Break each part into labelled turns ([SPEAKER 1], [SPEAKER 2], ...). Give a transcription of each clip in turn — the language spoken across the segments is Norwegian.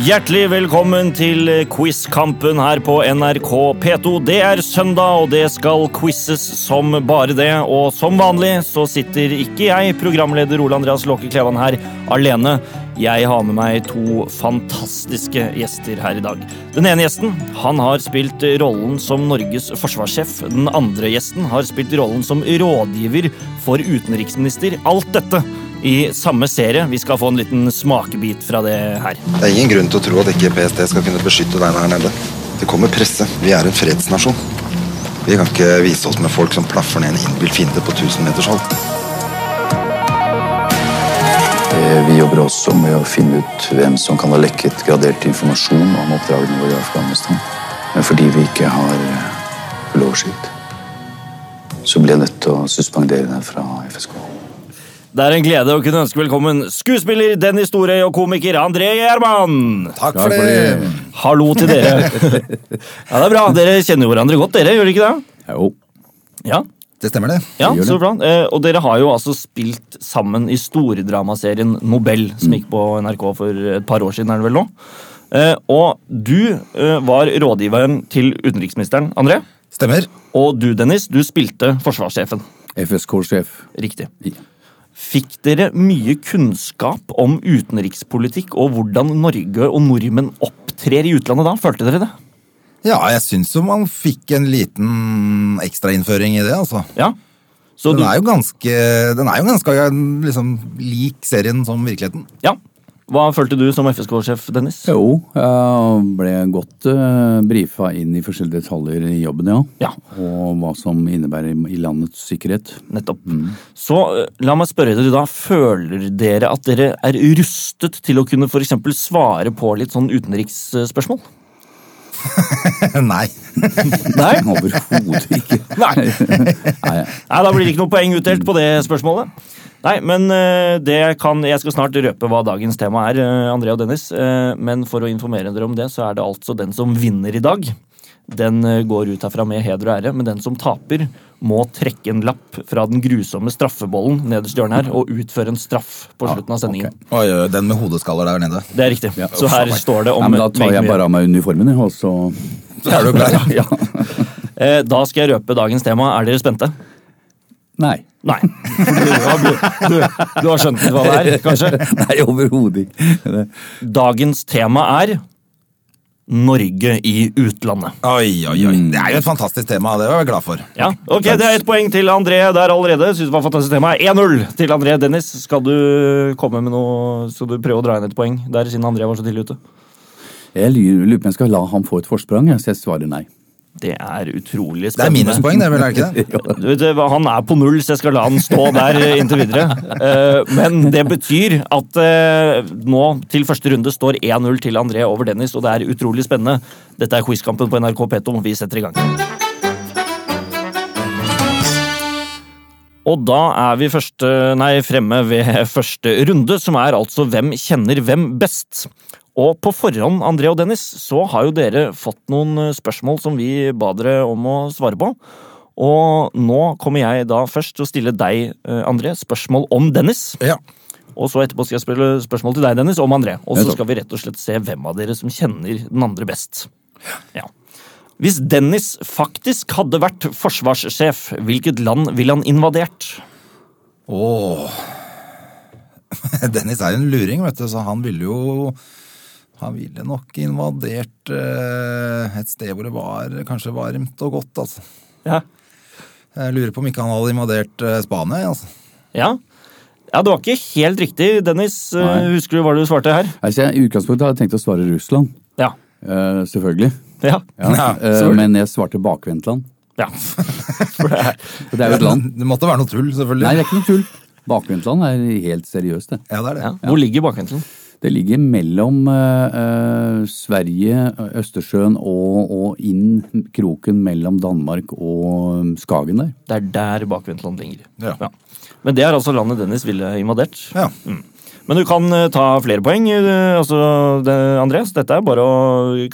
[SPEAKER 1] Hjertelig velkommen til eh, quizkampen her på NRK P2. Det er søndag, og det skal quizes som bare det. Og som vanlig så sitter ikke jeg, programleder Ole Andreas Låke Klevan, her alene. Jeg har med meg to fantastiske gjester her i dag. Den ene gjesten han har spilt rollen som Norges forsvarssjef. Den andre gjesten har spilt rollen som rådgiver for utenriksminister. Alt dette i samme serie. Vi skal få en liten smakebit fra det her.
[SPEAKER 2] Det er ingen grunn til å tro at ikke PST skal kunne beskytte deg her nede. Det kommer presse. Vi er en fredsnasjon. Vi kan ikke vise oss med folk som plaffer ned en innbilt fiende på 1000 meters halt.
[SPEAKER 3] Eh, Vi jobber også med å finne ut hvem som kan ha lekket gradert informasjon om oppdragene våre i Afghanistan. Men fordi vi ikke har eh, full oversikt, så blir jeg nødt til å suspendere den fra FSK.
[SPEAKER 1] Det er en glede å kunne ønske velkommen skuespiller, Dennis Storøy og komiker André Gjerman.
[SPEAKER 4] Takk for det!
[SPEAKER 1] Hallo til dere. Ja, det er bra. Dere kjenner jo hverandre godt, dere, gjør dere ikke det?
[SPEAKER 3] Jo.
[SPEAKER 1] Ja.
[SPEAKER 4] Det stemmer, det.
[SPEAKER 1] Ja, så bra. Eh, Og dere har jo altså spilt sammen i stordramaserien Nobel, som gikk på NRK for et par år siden, er det vel nå? Eh, Og du eh, var rådgiveren til utenriksministeren, André.
[SPEAKER 4] Stemmer.
[SPEAKER 1] Og du, Dennis, du spilte forsvarssjefen.
[SPEAKER 5] FSK-sjef.
[SPEAKER 1] Riktig.
[SPEAKER 5] Ja.
[SPEAKER 1] Fikk dere mye kunnskap om utenrikspolitikk og hvordan Norge og nordmenn opptrer i utlandet da? Følte dere det?
[SPEAKER 4] Ja, jeg syns jo man fikk en liten ekstrainnføring i det, altså.
[SPEAKER 1] Ja? Så
[SPEAKER 4] Den
[SPEAKER 1] du,
[SPEAKER 4] er jo ganske, den er jo ganske liksom, lik serien som virkeligheten.
[SPEAKER 1] ja. Hva følte du som FSK-sjef, Dennis?
[SPEAKER 5] Jo, jeg ble godt uh, brifa inn i forskjellige detaljer i jobben, ja.
[SPEAKER 1] Ja.
[SPEAKER 5] Og hva som innebærer i landets sikkerhet.
[SPEAKER 1] Nettopp. Så eh, la meg spørre dere da, føler dere at dere er rustet til å kunne for eksempel svare på litt sånn utenriksspørsmål?
[SPEAKER 4] Nei.
[SPEAKER 1] Nei?
[SPEAKER 5] Overhodet ikke.
[SPEAKER 1] Nei.
[SPEAKER 5] Nei,
[SPEAKER 1] Nei, da blir det ikke noe poeng utdelt på det spørsmålet. Nei, men eh, det kan, Jeg skal snart røpe hva dagens tema er, eh, André og Dennis. eh, Men for å informere dere om det, så er det altså den som vinner i dag. Den eh, går ut herfra med heder og ære, men den som taper, må trekke en lapp fra den grusomme straffebollen nederst i hjørnet her og utføre en straff på
[SPEAKER 5] Ah,
[SPEAKER 1] slutten av sendingen.
[SPEAKER 4] Oi, oi, den med hodeskaller der nede.
[SPEAKER 1] Det er riktig. Så her står det om
[SPEAKER 5] Nei, men da tar
[SPEAKER 1] meget
[SPEAKER 5] jeg
[SPEAKER 1] mye.
[SPEAKER 5] bare av meg uniformen, jeg, og så
[SPEAKER 4] Så er du klar.
[SPEAKER 5] Ja.
[SPEAKER 1] Eh, Da skal jeg røpe dagens tema. Er dere spente?
[SPEAKER 5] Nei.
[SPEAKER 1] Nei. Du, du, du har skjønt hva det er, kanskje?
[SPEAKER 5] Nei, overhodet ikke. Det-
[SPEAKER 1] Dagens tema er Norge i utlandet.
[SPEAKER 4] Oi, oi, oi. Mm. Det er jo et fantastisk tema, det var jeg glad for.
[SPEAKER 1] Ja, ok, Det er ett poeng til André der allerede. Synes det var fantastisk tema. 1-0 til André. Dennis, skal du komme med noe, skal du prøve å dra inn et poeng der siden André var så tidlig ute?
[SPEAKER 5] Jeg lurer lurer på om jeg skal la ham få et forsprang, jeg, så jeg svarer nei.
[SPEAKER 1] Det er utrolig
[SPEAKER 4] Det er
[SPEAKER 1] spennende.
[SPEAKER 4] minuspoeng, det er vel er det ikke det?
[SPEAKER 1] Du vet, hva, Han er på null, så jeg skal la han stå der inntil videre. Eh, Men det betyr at eh, nå til første runde står 1-0 til André over Dennis, og det er utrolig spennende. Dette er quizkampen på NRK P2. Vi setter i gang. Og da er vi første, nei, fremme ved første runde, som er altså Hvem kjenner hvem best? Og på forhånd, André og Dennis, så har jo dere fått noen eh, spørsmål som vi ba dere om å svare på. Og nå kommer jeg da først til å stille deg, eh, André, spørsmål om Dennis.
[SPEAKER 4] Ja.
[SPEAKER 1] Og så etterpå skal jeg spille spørsmål til deg, Dennis, om André. Og så
[SPEAKER 5] Nettopp.
[SPEAKER 1] skal vi rett og slett se hvem av dere som kjenner den andre best. Ja. Hvis Dennis faktisk hadde vært forsvarssjef, hvilket land ville han invadert?
[SPEAKER 4] Åh. Dennis er jo en luring, vet du, så han ville jo Han ville nok invadert eh, et sted hvor det var kanskje varmt og godt, altså.
[SPEAKER 1] Ja.
[SPEAKER 4] Jeg lurer på om ikke han hadde invadert eh, Spania. Altså.
[SPEAKER 1] Ja, ja det var ikke helt riktig, Dennis. Eh,
[SPEAKER 5] Nei.
[SPEAKER 1] Husker du hva du svarte her?
[SPEAKER 5] Altså, jeg, I utgangspunktet hadde jeg tenkt å svare Russland.
[SPEAKER 1] Ja.
[SPEAKER 5] Eh, selvfølgelig.
[SPEAKER 1] Ja.
[SPEAKER 5] Ja.
[SPEAKER 4] Ja,
[SPEAKER 5] Eh, men jeg svarte bakvendtland.
[SPEAKER 1] ja.
[SPEAKER 5] For det er jo et land.
[SPEAKER 4] Det måtte være noe tull,
[SPEAKER 5] Nei,
[SPEAKER 4] selvfølgelig.
[SPEAKER 5] det er ikke noe tull. Bakvendtland er helt seriøst, det.
[SPEAKER 4] Ja, det er det.
[SPEAKER 1] ja. Hvor ligger bakvendtelen?
[SPEAKER 5] Det ligger mellom eh, eh, Sverige, Østersjø- Østersjøen og, og inn kroken mellom Danmark og um, Skagen der.
[SPEAKER 1] Det er der bakvendtelen ligger.
[SPEAKER 4] Ja.
[SPEAKER 1] Men det er altså landet Dennis ville invadert.
[SPEAKER 4] Ja.
[SPEAKER 1] Men du kan eh, ta flere poeng, eh, altså, det, Andres. Dette er bare å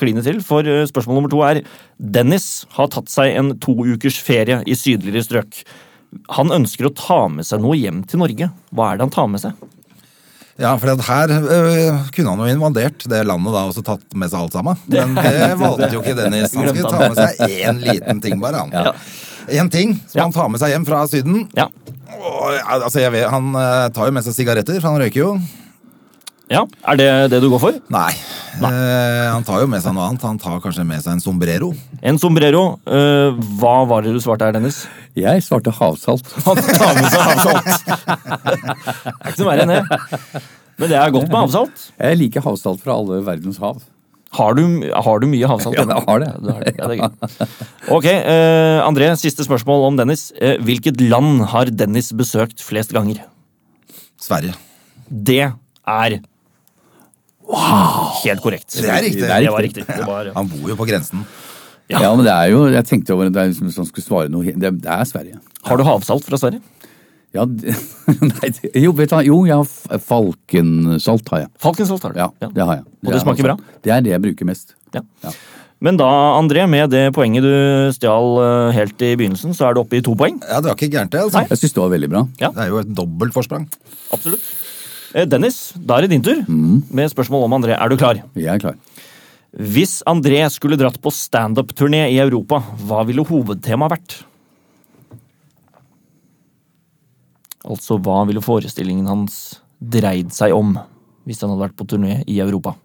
[SPEAKER 1] kline til, for eh, spørsmål nummer to er Dennis har tatt seg en to ukers ferie i sydligere strøk. Han ønsker å ta med seg noe hjem til Norge. Hva er det han tar med seg?
[SPEAKER 4] Ja, for det her øh, kunne han jo invadert det landet da og så tatt med seg alt sammen. Men det valgte jo ikke Dennis. Han skulle ta med seg én liten ting, bare. han. Én ting som
[SPEAKER 1] Ja.
[SPEAKER 4] han tar med seg hjem fra Syden.
[SPEAKER 1] Ja.
[SPEAKER 4] Åh, ja, altså, jeg vet, han øh, tar jo med seg sigaretter, for han røyker jo.
[SPEAKER 1] ja. Er det det du går for?
[SPEAKER 4] Nei. Eh, han tar jo med seg noe annet. Han tar kanskje med seg en sombrero.
[SPEAKER 1] En sombrero. Eh, hva var det du svarte her, Dennis?
[SPEAKER 5] Jeg svarte havsalt.
[SPEAKER 1] Han tar med seg havsalt. Det er ikke noe verre enn det. Men det er godt med havsalt.
[SPEAKER 5] Jeg liker havsalt fra alle verdens hav.
[SPEAKER 1] Har du, har du mye havsalt?
[SPEAKER 5] Ja, jeg har det.
[SPEAKER 1] Ja, du har det. Ja, det er gøy. Ok, eh, André, siste spørsmål om Dennis. Eh, hvilket land har Dennis besøkt flest ganger?
[SPEAKER 4] Sverige.
[SPEAKER 1] Det er Helt korrekt.
[SPEAKER 4] Det er riktig.
[SPEAKER 1] Det, var riktig. Det var,
[SPEAKER 4] Han bor jo på grensen.
[SPEAKER 5] Ja, men det er jo, jeg tenkte over det, det er liksom, hvis man skulle svare noe, det, det er Sverige.
[SPEAKER 1] Har du havsalt fra Sverige?
[SPEAKER 5] Ja, det, nei, det, jo, vet du, hva, jo, jeg har f- falkensalt har jeg.
[SPEAKER 1] Falkensalt har du.
[SPEAKER 5] Ja, det har jeg.
[SPEAKER 1] Og det
[SPEAKER 5] er
[SPEAKER 1] smaker
[SPEAKER 5] havsalt. Det er det jeg bruker mest.
[SPEAKER 1] Ja. Men da, André, med det poenget du stjal eh, helt i begynnelsen, så er du oppe i to poeng.
[SPEAKER 4] Ja, det var ikke gærent, det. altså.
[SPEAKER 1] Nei.
[SPEAKER 5] Jeg syns det var veldig bra.
[SPEAKER 4] Det er jo et dobbelt forsprang.
[SPEAKER 1] Absolutt. Eh, Dennis, da er det din tur
[SPEAKER 5] Mm.
[SPEAKER 1] med spørsmål om André. Er du klar?
[SPEAKER 5] Jeg er klar.
[SPEAKER 1] Hvis André skulle dratt på standup-turné i Europa, hva ville hovedtemaet vært? Altså, hva ville forestillingen hans dreid seg om hvis han hadde vært på turné i Europa?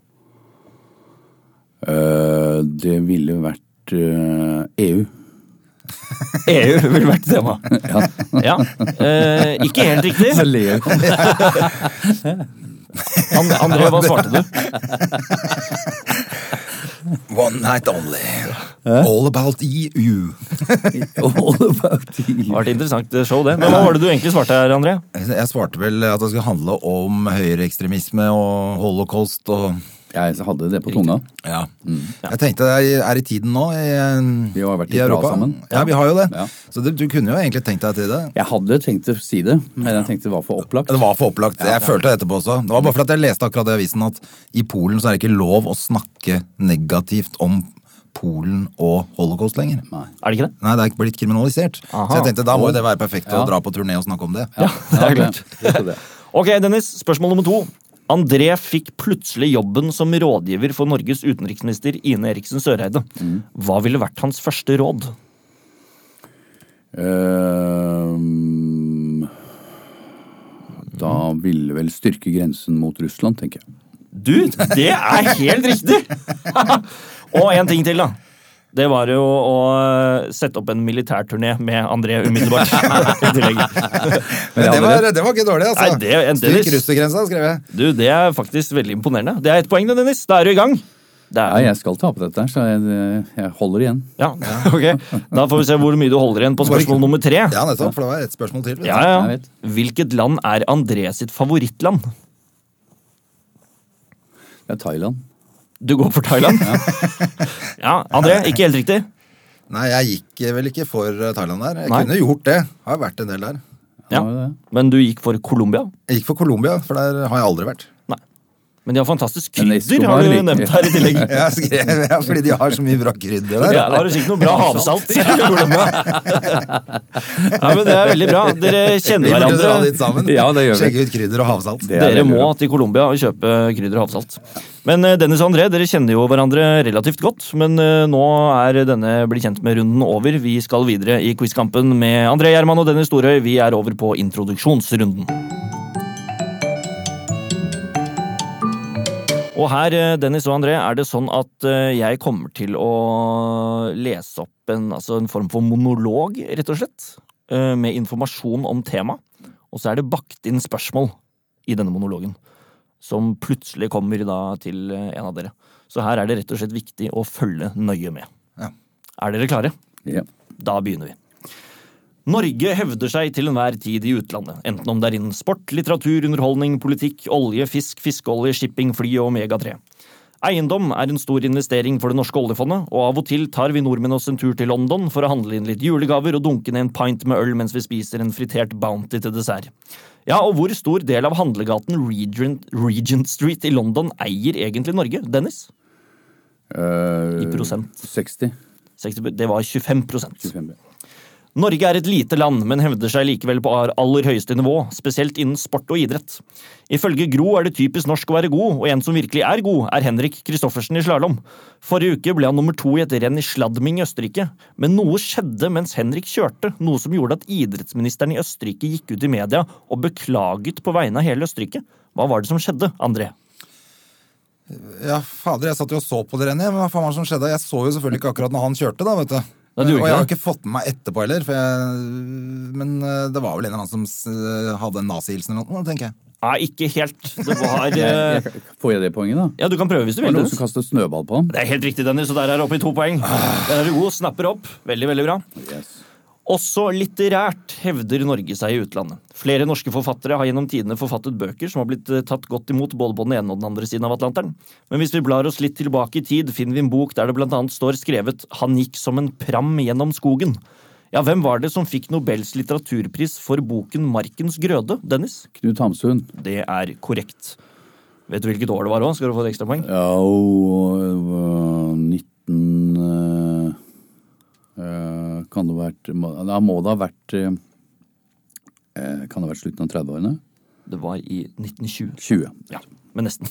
[SPEAKER 5] Eh, det ville vært eh, EU.
[SPEAKER 1] EU E ville vært tema.
[SPEAKER 5] Ja.
[SPEAKER 1] Ja, eh, Ikke helt riktig.
[SPEAKER 5] Jeg ler.
[SPEAKER 1] An- André, hva svarte du?
[SPEAKER 4] One night only. All about E EU.
[SPEAKER 5] All about
[SPEAKER 1] Det
[SPEAKER 5] you.
[SPEAKER 1] var et interessant show, det. Men hva var det du egentlig svarte her, André?
[SPEAKER 4] Jeg svarte vel at det skulle handle om høyreekstremisme og holocaust og
[SPEAKER 5] Jeg hadde det på tunga.
[SPEAKER 4] ja. Mm. Jeg tenkte det er i tiden nå i,
[SPEAKER 5] Vi har vært
[SPEAKER 4] i
[SPEAKER 5] litt bra
[SPEAKER 4] Europa.
[SPEAKER 5] sammen.
[SPEAKER 4] Ja, vi har jo det.
[SPEAKER 5] Ja.
[SPEAKER 4] Så du, du kunne jo egentlig tenkt deg til det.
[SPEAKER 5] Jeg hadde tenkt å si det, men jeg tenkte det var for opplagt.
[SPEAKER 4] Det var for opplagt. Jeg følte det etterpå også. Det var bare fordi jeg leste akkurat i avisen at i Polen så er det ikke lov å snakke negativt om Polen og holocaust lenger. Nei,
[SPEAKER 1] Er det ikke det?
[SPEAKER 4] det er ikke blitt kriminalisert.
[SPEAKER 1] Aha.
[SPEAKER 4] Så jeg tenkte da må jo det være perfekt å dra på turné og snakke om det.
[SPEAKER 5] Ja,
[SPEAKER 1] det er
[SPEAKER 5] det- det er det.
[SPEAKER 1] Ok, Dennis, spørsmål nummer to. André fikk plutselig jobben som rådgiver for Norges utenriksminister Ine Eriksen Søreide. Hva ville vært hans første råd?
[SPEAKER 5] Eh, Ehm, da ville vel styrke grensen mot Russland, tenker jeg.
[SPEAKER 1] Du, det er helt riktig! Og en ting til, da. Det var jo å eh, sette opp en militærturné med André umiddelbart. I tillegg.
[SPEAKER 4] Men
[SPEAKER 5] jeg
[SPEAKER 4] det
[SPEAKER 5] hadde
[SPEAKER 4] var, det var ikke dårlig, altså.
[SPEAKER 1] Nei, det- en
[SPEAKER 4] Styrk
[SPEAKER 1] Dennis-
[SPEAKER 4] russergrensa, skrev jeg.
[SPEAKER 1] Du, det er faktisk veldig imponerende. Det er ett poeng, det, Dennis. Da er du i gang. Det
[SPEAKER 5] Nei,
[SPEAKER 1] er,
[SPEAKER 5] jeg skal tape dette, her, så jeg, jeg holder igjen.
[SPEAKER 1] ja, ok. Da får vi se hvor mye du holder igjen på spørsmål nummer tre.
[SPEAKER 4] Ja, nettopp, for det var ett spørsmål til. vet du.
[SPEAKER 1] Ja, ja.
[SPEAKER 5] Jeg vet.
[SPEAKER 1] Hvilket land er André sitt favorittland?
[SPEAKER 5] Det er Thailand.
[SPEAKER 1] Du går for Thailand? Ja, André, ikke helt riktig.
[SPEAKER 4] Nei, jeg gikk vel ikke for eh, Thailand der. Jeg
[SPEAKER 1] Nei.
[SPEAKER 4] kunne gjort det. Har vært en del der.
[SPEAKER 1] Ja.
[SPEAKER 5] var det.
[SPEAKER 1] Men du gikk for Colombia?
[SPEAKER 4] Jeg gikk for Colombia, for der har jeg aldri vært.
[SPEAKER 1] Nei. Men de har fantastisk
[SPEAKER 5] Men
[SPEAKER 1] krydder,
[SPEAKER 5] Escobar
[SPEAKER 1] har du
[SPEAKER 5] liker-
[SPEAKER 1] nevnt her i tillegg.
[SPEAKER 4] Jeg skrev, ja, fordi de har så mye bra krydder der.
[SPEAKER 1] Ja, da har du sikkert noe bra havsalt. i Colombia. Nei, men Det er veldig bra. Dere
[SPEAKER 4] Vi
[SPEAKER 1] kjenner
[SPEAKER 4] burde dra dit
[SPEAKER 1] hverandre.
[SPEAKER 4] sammen.
[SPEAKER 5] Ja, det gjør vi.
[SPEAKER 4] Sjekke ut krydder og havsalt.
[SPEAKER 5] Det er
[SPEAKER 1] Dere
[SPEAKER 5] veldig
[SPEAKER 1] må
[SPEAKER 5] bra.
[SPEAKER 1] til Colombia og kjøpe krydder og havsalt. Men eh, Dennis og André, dere kjenner jo hverandre relativt godt. Men eh, nå er denne Bli kjent med-runden over. Vi skal videre i quizkampen med André Gjerman og Dennis Storøy. Vi er over på introduksjonsrunden. Og her, eh, Dennis og André, er det sånn at eh, jeg kommer til å lese opp en, altså en form for monolog, rett og slett, eh, med informasjon om temaet. Og så er det bakt inn spørsmål i denne monologen, som plutselig kommer da til eh, en av dere. Så her er det rett og slett viktig å følge nøye med.
[SPEAKER 4] Ja.
[SPEAKER 1] Er dere klare?
[SPEAKER 5] Ja.
[SPEAKER 1] Da begynner vi. Norge hevder seg til enhver tid i utlandet, enten om det er innen sport, litteratur, underholdning, politikk, olje, fisk, fiskeolje, shipping, fly og omega-3. Eiendom er en stor investering for det norske oljefondet, og av og til tar vi nordmenn oss en tur til London for å handle inn litt julegaver og dunke ned en pint med øl mens vi spiser en fritert Bounty til dessert. Ja, og hvor stor del av handlegaten Regent, Regent Street i London eier egentlig Norge? Dennis?
[SPEAKER 5] Eh,
[SPEAKER 1] I prosent.
[SPEAKER 5] 60.
[SPEAKER 1] 60, det var 25
[SPEAKER 5] 25.
[SPEAKER 1] Norge er et lite land, men hevder seg likevel på aller høyeste nivå, spesielt innen sport og idrett. Ifølge Gro er det typisk norsk å være god, og en som virkelig er god, er Henrik Kristoffersen i slalåm. Forrige uke ble han nummer to i et renn i Sladming i Østerrike, men noe skjedde mens Henrik kjørte, noe som gjorde at idrettsministeren i Østerrike gikk ut i media og beklaget på vegne av hele Østerrike. Hva var det som skjedde, André?
[SPEAKER 4] Ja, fader, jeg satt jo og så på det rennet. men Hva faen var det som skjedde? Jeg så jo selvfølgelig ikke akkurat når han kjørte, da, vet du.
[SPEAKER 1] Nei, du gjorde
[SPEAKER 4] og jeg har
[SPEAKER 1] ikke
[SPEAKER 4] ikke fått med meg etterpå heller, for jeg, men eh, det var vel en eller annen som s- eh, hadde en nazihilsen eller noe, tenker jeg.
[SPEAKER 1] Nei, ikke helt. Det var eh,
[SPEAKER 5] Jeg- Får jeg det poenget, da?
[SPEAKER 1] Ja, du kan prøve hvis du Ah.
[SPEAKER 5] Det var
[SPEAKER 1] vil.
[SPEAKER 5] noen
[SPEAKER 1] Dennis.
[SPEAKER 5] som kastet snøball på ham.
[SPEAKER 1] Det er helt riktig, Dennis, og der er du oppe i to poeng. Der er du god, snapper opp. Veldig, veldig bra.
[SPEAKER 5] Yes.
[SPEAKER 1] Også litterært hevder Norge seg i utlandet. Flere norske forfattere har gjennom tidene forfattet bøker som har blitt eh, tatt godt imot både på den ene og den andre siden av Atlanteren. Men hvis vi blar oss litt tilbake i tid, finner vi en bok der det blant annet står skrevet 'Han gikk som en pram gjennom skogen'. Ja, hvem var det som fikk Nobels litteraturpris for boken 'Markens grøde', Dennis?
[SPEAKER 5] Knut Hamsun.
[SPEAKER 1] Det er korrekt. Vet du hvilket år det var òg? Skal du få et ekstrapoeng?
[SPEAKER 5] Ja, og det var 19 eh, eh, Kan det ha vært må- Da må det ha vært eh, eh, Kan det ha vært slutten av 30-årene?
[SPEAKER 1] Det var i 1920.
[SPEAKER 5] 20.
[SPEAKER 1] Ja, men nesten.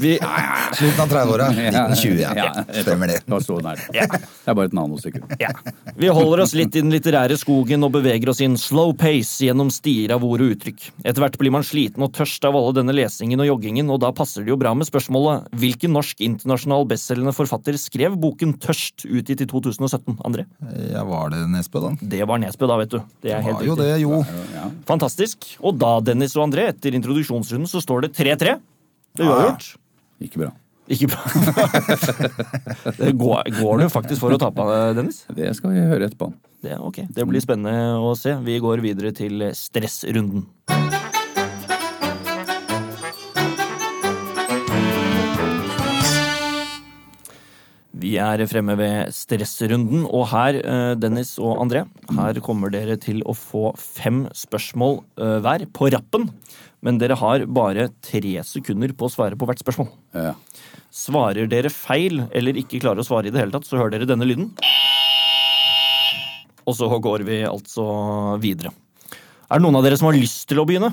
[SPEAKER 1] Vi,
[SPEAKER 4] Slutten av 30-åra. 1920, ja.
[SPEAKER 5] Ja.
[SPEAKER 4] Stemmer det.
[SPEAKER 5] Det var så nært. Det er bare et nanosekund.
[SPEAKER 1] ja. Vi holder oss litt i den litterære skogen og beveger oss i en slow pace gjennom stier av ord og uttrykk. Etter hvert blir man sliten og tørst av alle denne lesingen og joggingen, og da passer det jo bra med spørsmålet hvilken norsk internasjonal bestselgende forfatter skrev boken Tørst, utgitt i 2017? André?
[SPEAKER 4] Ja, var det Nesbø, da?
[SPEAKER 1] Det var Nesbø, da, vet du. Det er helt
[SPEAKER 4] Var jo
[SPEAKER 1] riktig.
[SPEAKER 4] det, jo.
[SPEAKER 1] Fantastisk. Og da, Dennis og André, etter introduksjonsrunden så står det 3-3. Det er uavgjort.
[SPEAKER 5] Ikke bra.
[SPEAKER 1] Ikke bra. det går, går det jo faktisk for å tape, Dennis?
[SPEAKER 5] Det skal vi høre etterpå.
[SPEAKER 1] Det, ok. det blir spennende å se. Vi går videre til stressrunden. Vi er fremme ved stressrunden, og her, eh, Dennis og André, her kommer dere til å få fem spørsmål eh, hver på rappen. Men dere har bare tre sekunder på å svare på hvert spørsmål.
[SPEAKER 5] Ja.
[SPEAKER 1] Svarer dere feil eller ikke klarer å svare i det hele tatt, så hører dere denne lyden. Og så går vi altså videre. Er det noen av dere som har lyst til å begynne?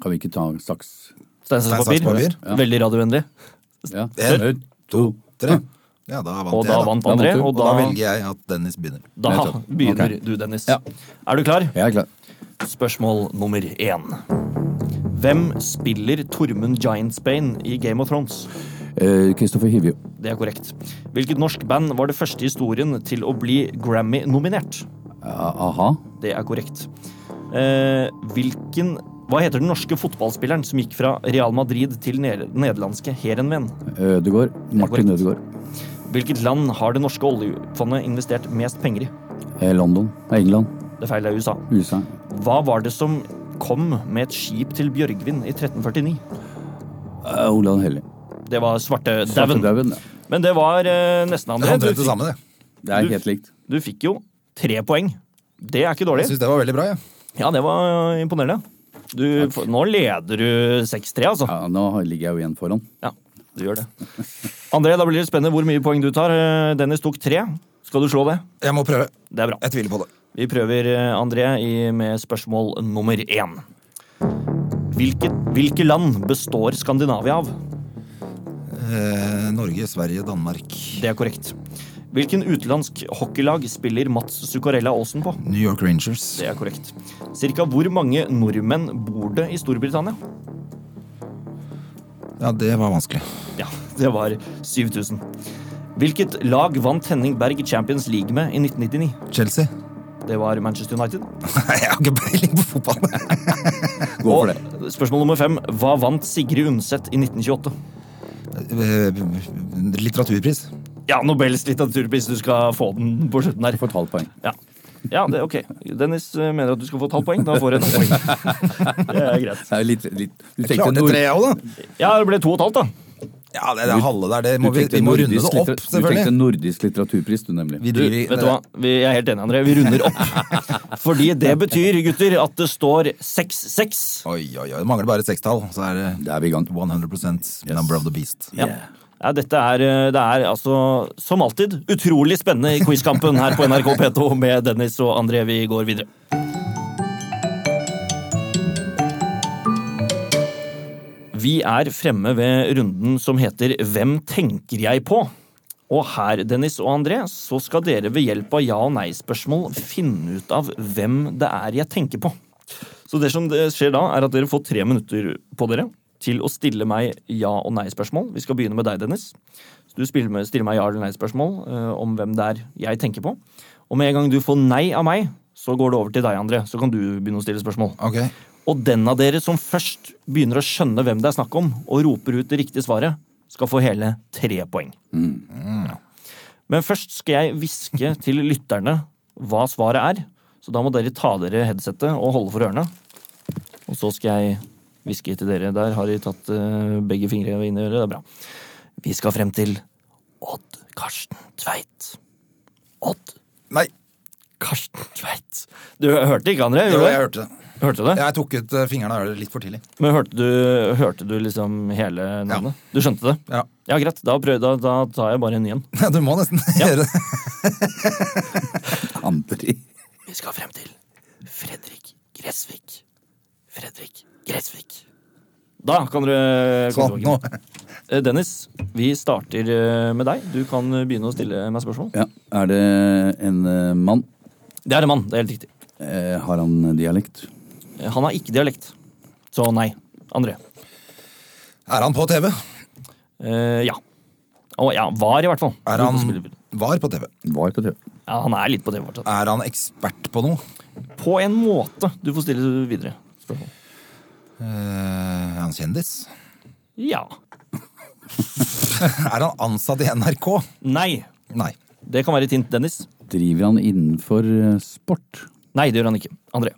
[SPEAKER 5] Kan vi ikke ta saks?
[SPEAKER 1] Stein, saks, papir.
[SPEAKER 4] Stein, saks, papir.
[SPEAKER 1] Ja. Veldig radiovennlig.
[SPEAKER 5] Ja.
[SPEAKER 4] En,
[SPEAKER 5] Ut.
[SPEAKER 4] to, tre. Ja, da vant
[SPEAKER 1] Og
[SPEAKER 4] jeg,
[SPEAKER 1] da
[SPEAKER 4] da.
[SPEAKER 1] vant
[SPEAKER 5] Da vant
[SPEAKER 1] André,
[SPEAKER 5] du.
[SPEAKER 1] og
[SPEAKER 4] Og da
[SPEAKER 1] da,
[SPEAKER 4] velger jeg at Dennis begynner.
[SPEAKER 1] da
[SPEAKER 5] Nettopp.
[SPEAKER 1] begynner
[SPEAKER 5] Ok.
[SPEAKER 1] du, Dennis.
[SPEAKER 5] Ja.
[SPEAKER 1] Er du klar?
[SPEAKER 5] Jeg er klar.
[SPEAKER 1] Spørsmål nummer én. Hvem spiller Tormund Giantsbane i Game of Thrones?
[SPEAKER 5] Eh, Kristoffer Hivju.
[SPEAKER 1] Det er korrekt. Hvilket norsk band var det første i historien til å bli Grammy-nominert?
[SPEAKER 5] Ja, aha.
[SPEAKER 1] Det er korrekt. Eh, hvilken Hva heter den norske fotballspilleren som gikk fra Real Madrid til ned- nederlandske Heerenveen?
[SPEAKER 5] Ødegård. Martin Ødegaard.
[SPEAKER 1] Hvilket land har det norske oljefondet investert mest penger i?
[SPEAKER 5] Eh, London. Nei, England.
[SPEAKER 1] Det feil er USA.
[SPEAKER 5] USA.
[SPEAKER 1] Hva var det som kom med et skip til Bjørgvin i 1349?
[SPEAKER 5] Eh, Olav Hellig.
[SPEAKER 1] Det var svartedauden.
[SPEAKER 5] Svartedauden, ja.
[SPEAKER 1] Men det var eh, nesten
[SPEAKER 4] Det er
[SPEAKER 1] André. Du,
[SPEAKER 4] omtrent det samme, det.
[SPEAKER 5] Det er helt likt.
[SPEAKER 1] fikk- du fikk jo tre poeng. Det er ikke dårlig.
[SPEAKER 4] Jeg syns det var veldig bra, jeg.
[SPEAKER 1] Ja, det var eh, imponerende. Du, f- nå leder du 6-3, altså.
[SPEAKER 5] Ja, nå har- ligger jeg jo igjen foran.
[SPEAKER 1] Ja, du gjør det. André, da blir det spennende hvor mye poeng du tar. Eh, Dennis tok tre. Skal du slå det?
[SPEAKER 4] Jeg må prøve.
[SPEAKER 1] Det er bra.
[SPEAKER 4] Jeg tviler på det.
[SPEAKER 1] Vi prøver eh, André i- med spørsmål nummer én. Hvilke, hvilke land består Skandinavia av?
[SPEAKER 4] Eh, Norge, Sverige, Danmark.
[SPEAKER 1] Det er korrekt. Hvilken utenlandsk hockeylag spiller Mats Zuccarella Aasen på?
[SPEAKER 4] New York Rangers.
[SPEAKER 1] Det er korrekt. Cirka hvor mange nordmenn bor det i Storbritannia?
[SPEAKER 4] Ja, det var vanskelig.
[SPEAKER 1] Ja, det var 7000. Hvilket lag vant Henning Berg Champions League med i 1999?
[SPEAKER 4] Chelsea?
[SPEAKER 1] Det var Manchester United.
[SPEAKER 4] Nei, jeg har ikke peiling på fotball.
[SPEAKER 5] Gå for det.
[SPEAKER 1] Og spørsmål nummer fem. Hva vant Sigrid Undset i 1928?
[SPEAKER 4] Eh, Litteraturpris.
[SPEAKER 1] Ja, Nobels litteraturpris. Du skal få den på slutten her.
[SPEAKER 5] Du får et halvt poeng.
[SPEAKER 1] Ja, ja det er ok. Dennis eh, mener at du skal få et halvt poeng. Da får du et halvt poeng. Det er greit.
[SPEAKER 5] Det er litt, litt. Du tenkte
[SPEAKER 4] Klarte
[SPEAKER 5] nord-
[SPEAKER 4] tre òg, da.
[SPEAKER 1] Ja, det ble to og et halvt, da.
[SPEAKER 4] Ja, det, det er halve der. Det må
[SPEAKER 5] du
[SPEAKER 4] vi,
[SPEAKER 5] tenkte
[SPEAKER 4] vi må runde
[SPEAKER 5] nordisk
[SPEAKER 4] det opp,
[SPEAKER 5] litter- Du tenkte
[SPEAKER 4] selvfølgelig.
[SPEAKER 5] nordisk litteraturpris, du nemlig.
[SPEAKER 4] Vi
[SPEAKER 1] Du,
[SPEAKER 4] driver,
[SPEAKER 1] vet du hva? Vi jeg er helt enig, André. Vi runder opp. Fordi det betyr, gutter, at det står 6-6.
[SPEAKER 4] Oi, oi, oi. Det mangler bare et sekstall, så er det
[SPEAKER 5] Da er vi i gang.
[SPEAKER 4] 100 number of the beast.
[SPEAKER 1] Ja. Ja, dette er, eh, det er altså, som alltid, utrolig spennende i quizkampen her på NRK P2 med Dennis og André. Vi går videre. Vi er fremme ved runden som heter Hvem tenker jeg på? Og her, Dennis og André, så skal dere ved hjelp av ja- og nei-spørsmål finne ut av hvem det er jeg tenker på. Så det som det skjer da, er at dere får tre minutter på dere til å stille meg ja- og nei-spørsmål. Vi skal begynne med deg, Dennis. Så du spiller med, stiller meg ja- eller nei-spørsmål eh, om hvem det er jeg tenker på. Og med en gang du får nei av meg, så går det over til deg, André. Så kan du begynne å stille spørsmål.
[SPEAKER 4] Ok.
[SPEAKER 1] Og den av dere som først begynner å skjønne hvem det er snakk om, og roper ut det riktige svaret, skal få hele tre poeng.
[SPEAKER 4] Mm.
[SPEAKER 1] Ja. Men først skal jeg hviske til lytterne hva svaret er. Så da må dere ta dere headsetet og holde for ørene. Og så skal jeg hviske til dere. Der har de tatt eh, begge fingre inn i øret. Det er bra. Vi skal frem til Odd Karsten Tveit. Odd
[SPEAKER 4] Nei.
[SPEAKER 1] Karsten Tveit. Du hørte ikke, André? gjorde
[SPEAKER 4] Jo,
[SPEAKER 1] du?
[SPEAKER 4] jeg hørte det.
[SPEAKER 1] Hørte du det?
[SPEAKER 4] Jeg tok ut eh, fingrene av øret litt for tidlig.
[SPEAKER 1] Men hørte du, hørte du liksom hele navnet? Du skjønte det?
[SPEAKER 4] Ja.
[SPEAKER 1] Ja, greit. Da, prøv, da, da tar jeg bare en ny en.
[SPEAKER 4] Du må nesten gjøre det.
[SPEAKER 5] Andri.
[SPEAKER 1] Vi skal frem til Fredrik Gressvik. Fredrik Gressvik. Da kan dere
[SPEAKER 4] Sånn,
[SPEAKER 1] komme
[SPEAKER 4] nå.
[SPEAKER 1] tilbake. Eh, Dennis, vi starter eh, med deg. Du kan begynne å stille meg spørsmål.
[SPEAKER 5] Ja, er det en eh, mann?
[SPEAKER 1] Det er en mann. Det er helt riktig.
[SPEAKER 5] Eh, har han dialekt?
[SPEAKER 1] Eh, Han har ikke dialekt. Så nei. André.
[SPEAKER 4] Er han på TV?
[SPEAKER 1] Eh, ja. Å ja, var i hvert fall.
[SPEAKER 4] Er han var på TV?
[SPEAKER 5] Var på TV.
[SPEAKER 1] Ja, han er litt på TV fortsatt.
[SPEAKER 4] Er han ekspert på noe?
[SPEAKER 1] På en måte. Du får stille videre spørsmål.
[SPEAKER 4] Eh, er han kjendis?
[SPEAKER 1] Ja.
[SPEAKER 4] Er han ansatt i NRK?
[SPEAKER 1] Nei.
[SPEAKER 4] Nei.
[SPEAKER 1] Det kan være et hint, Dennis.
[SPEAKER 5] Driver han innenfor eh, sport?
[SPEAKER 1] Nei, det gjør han ikke. André.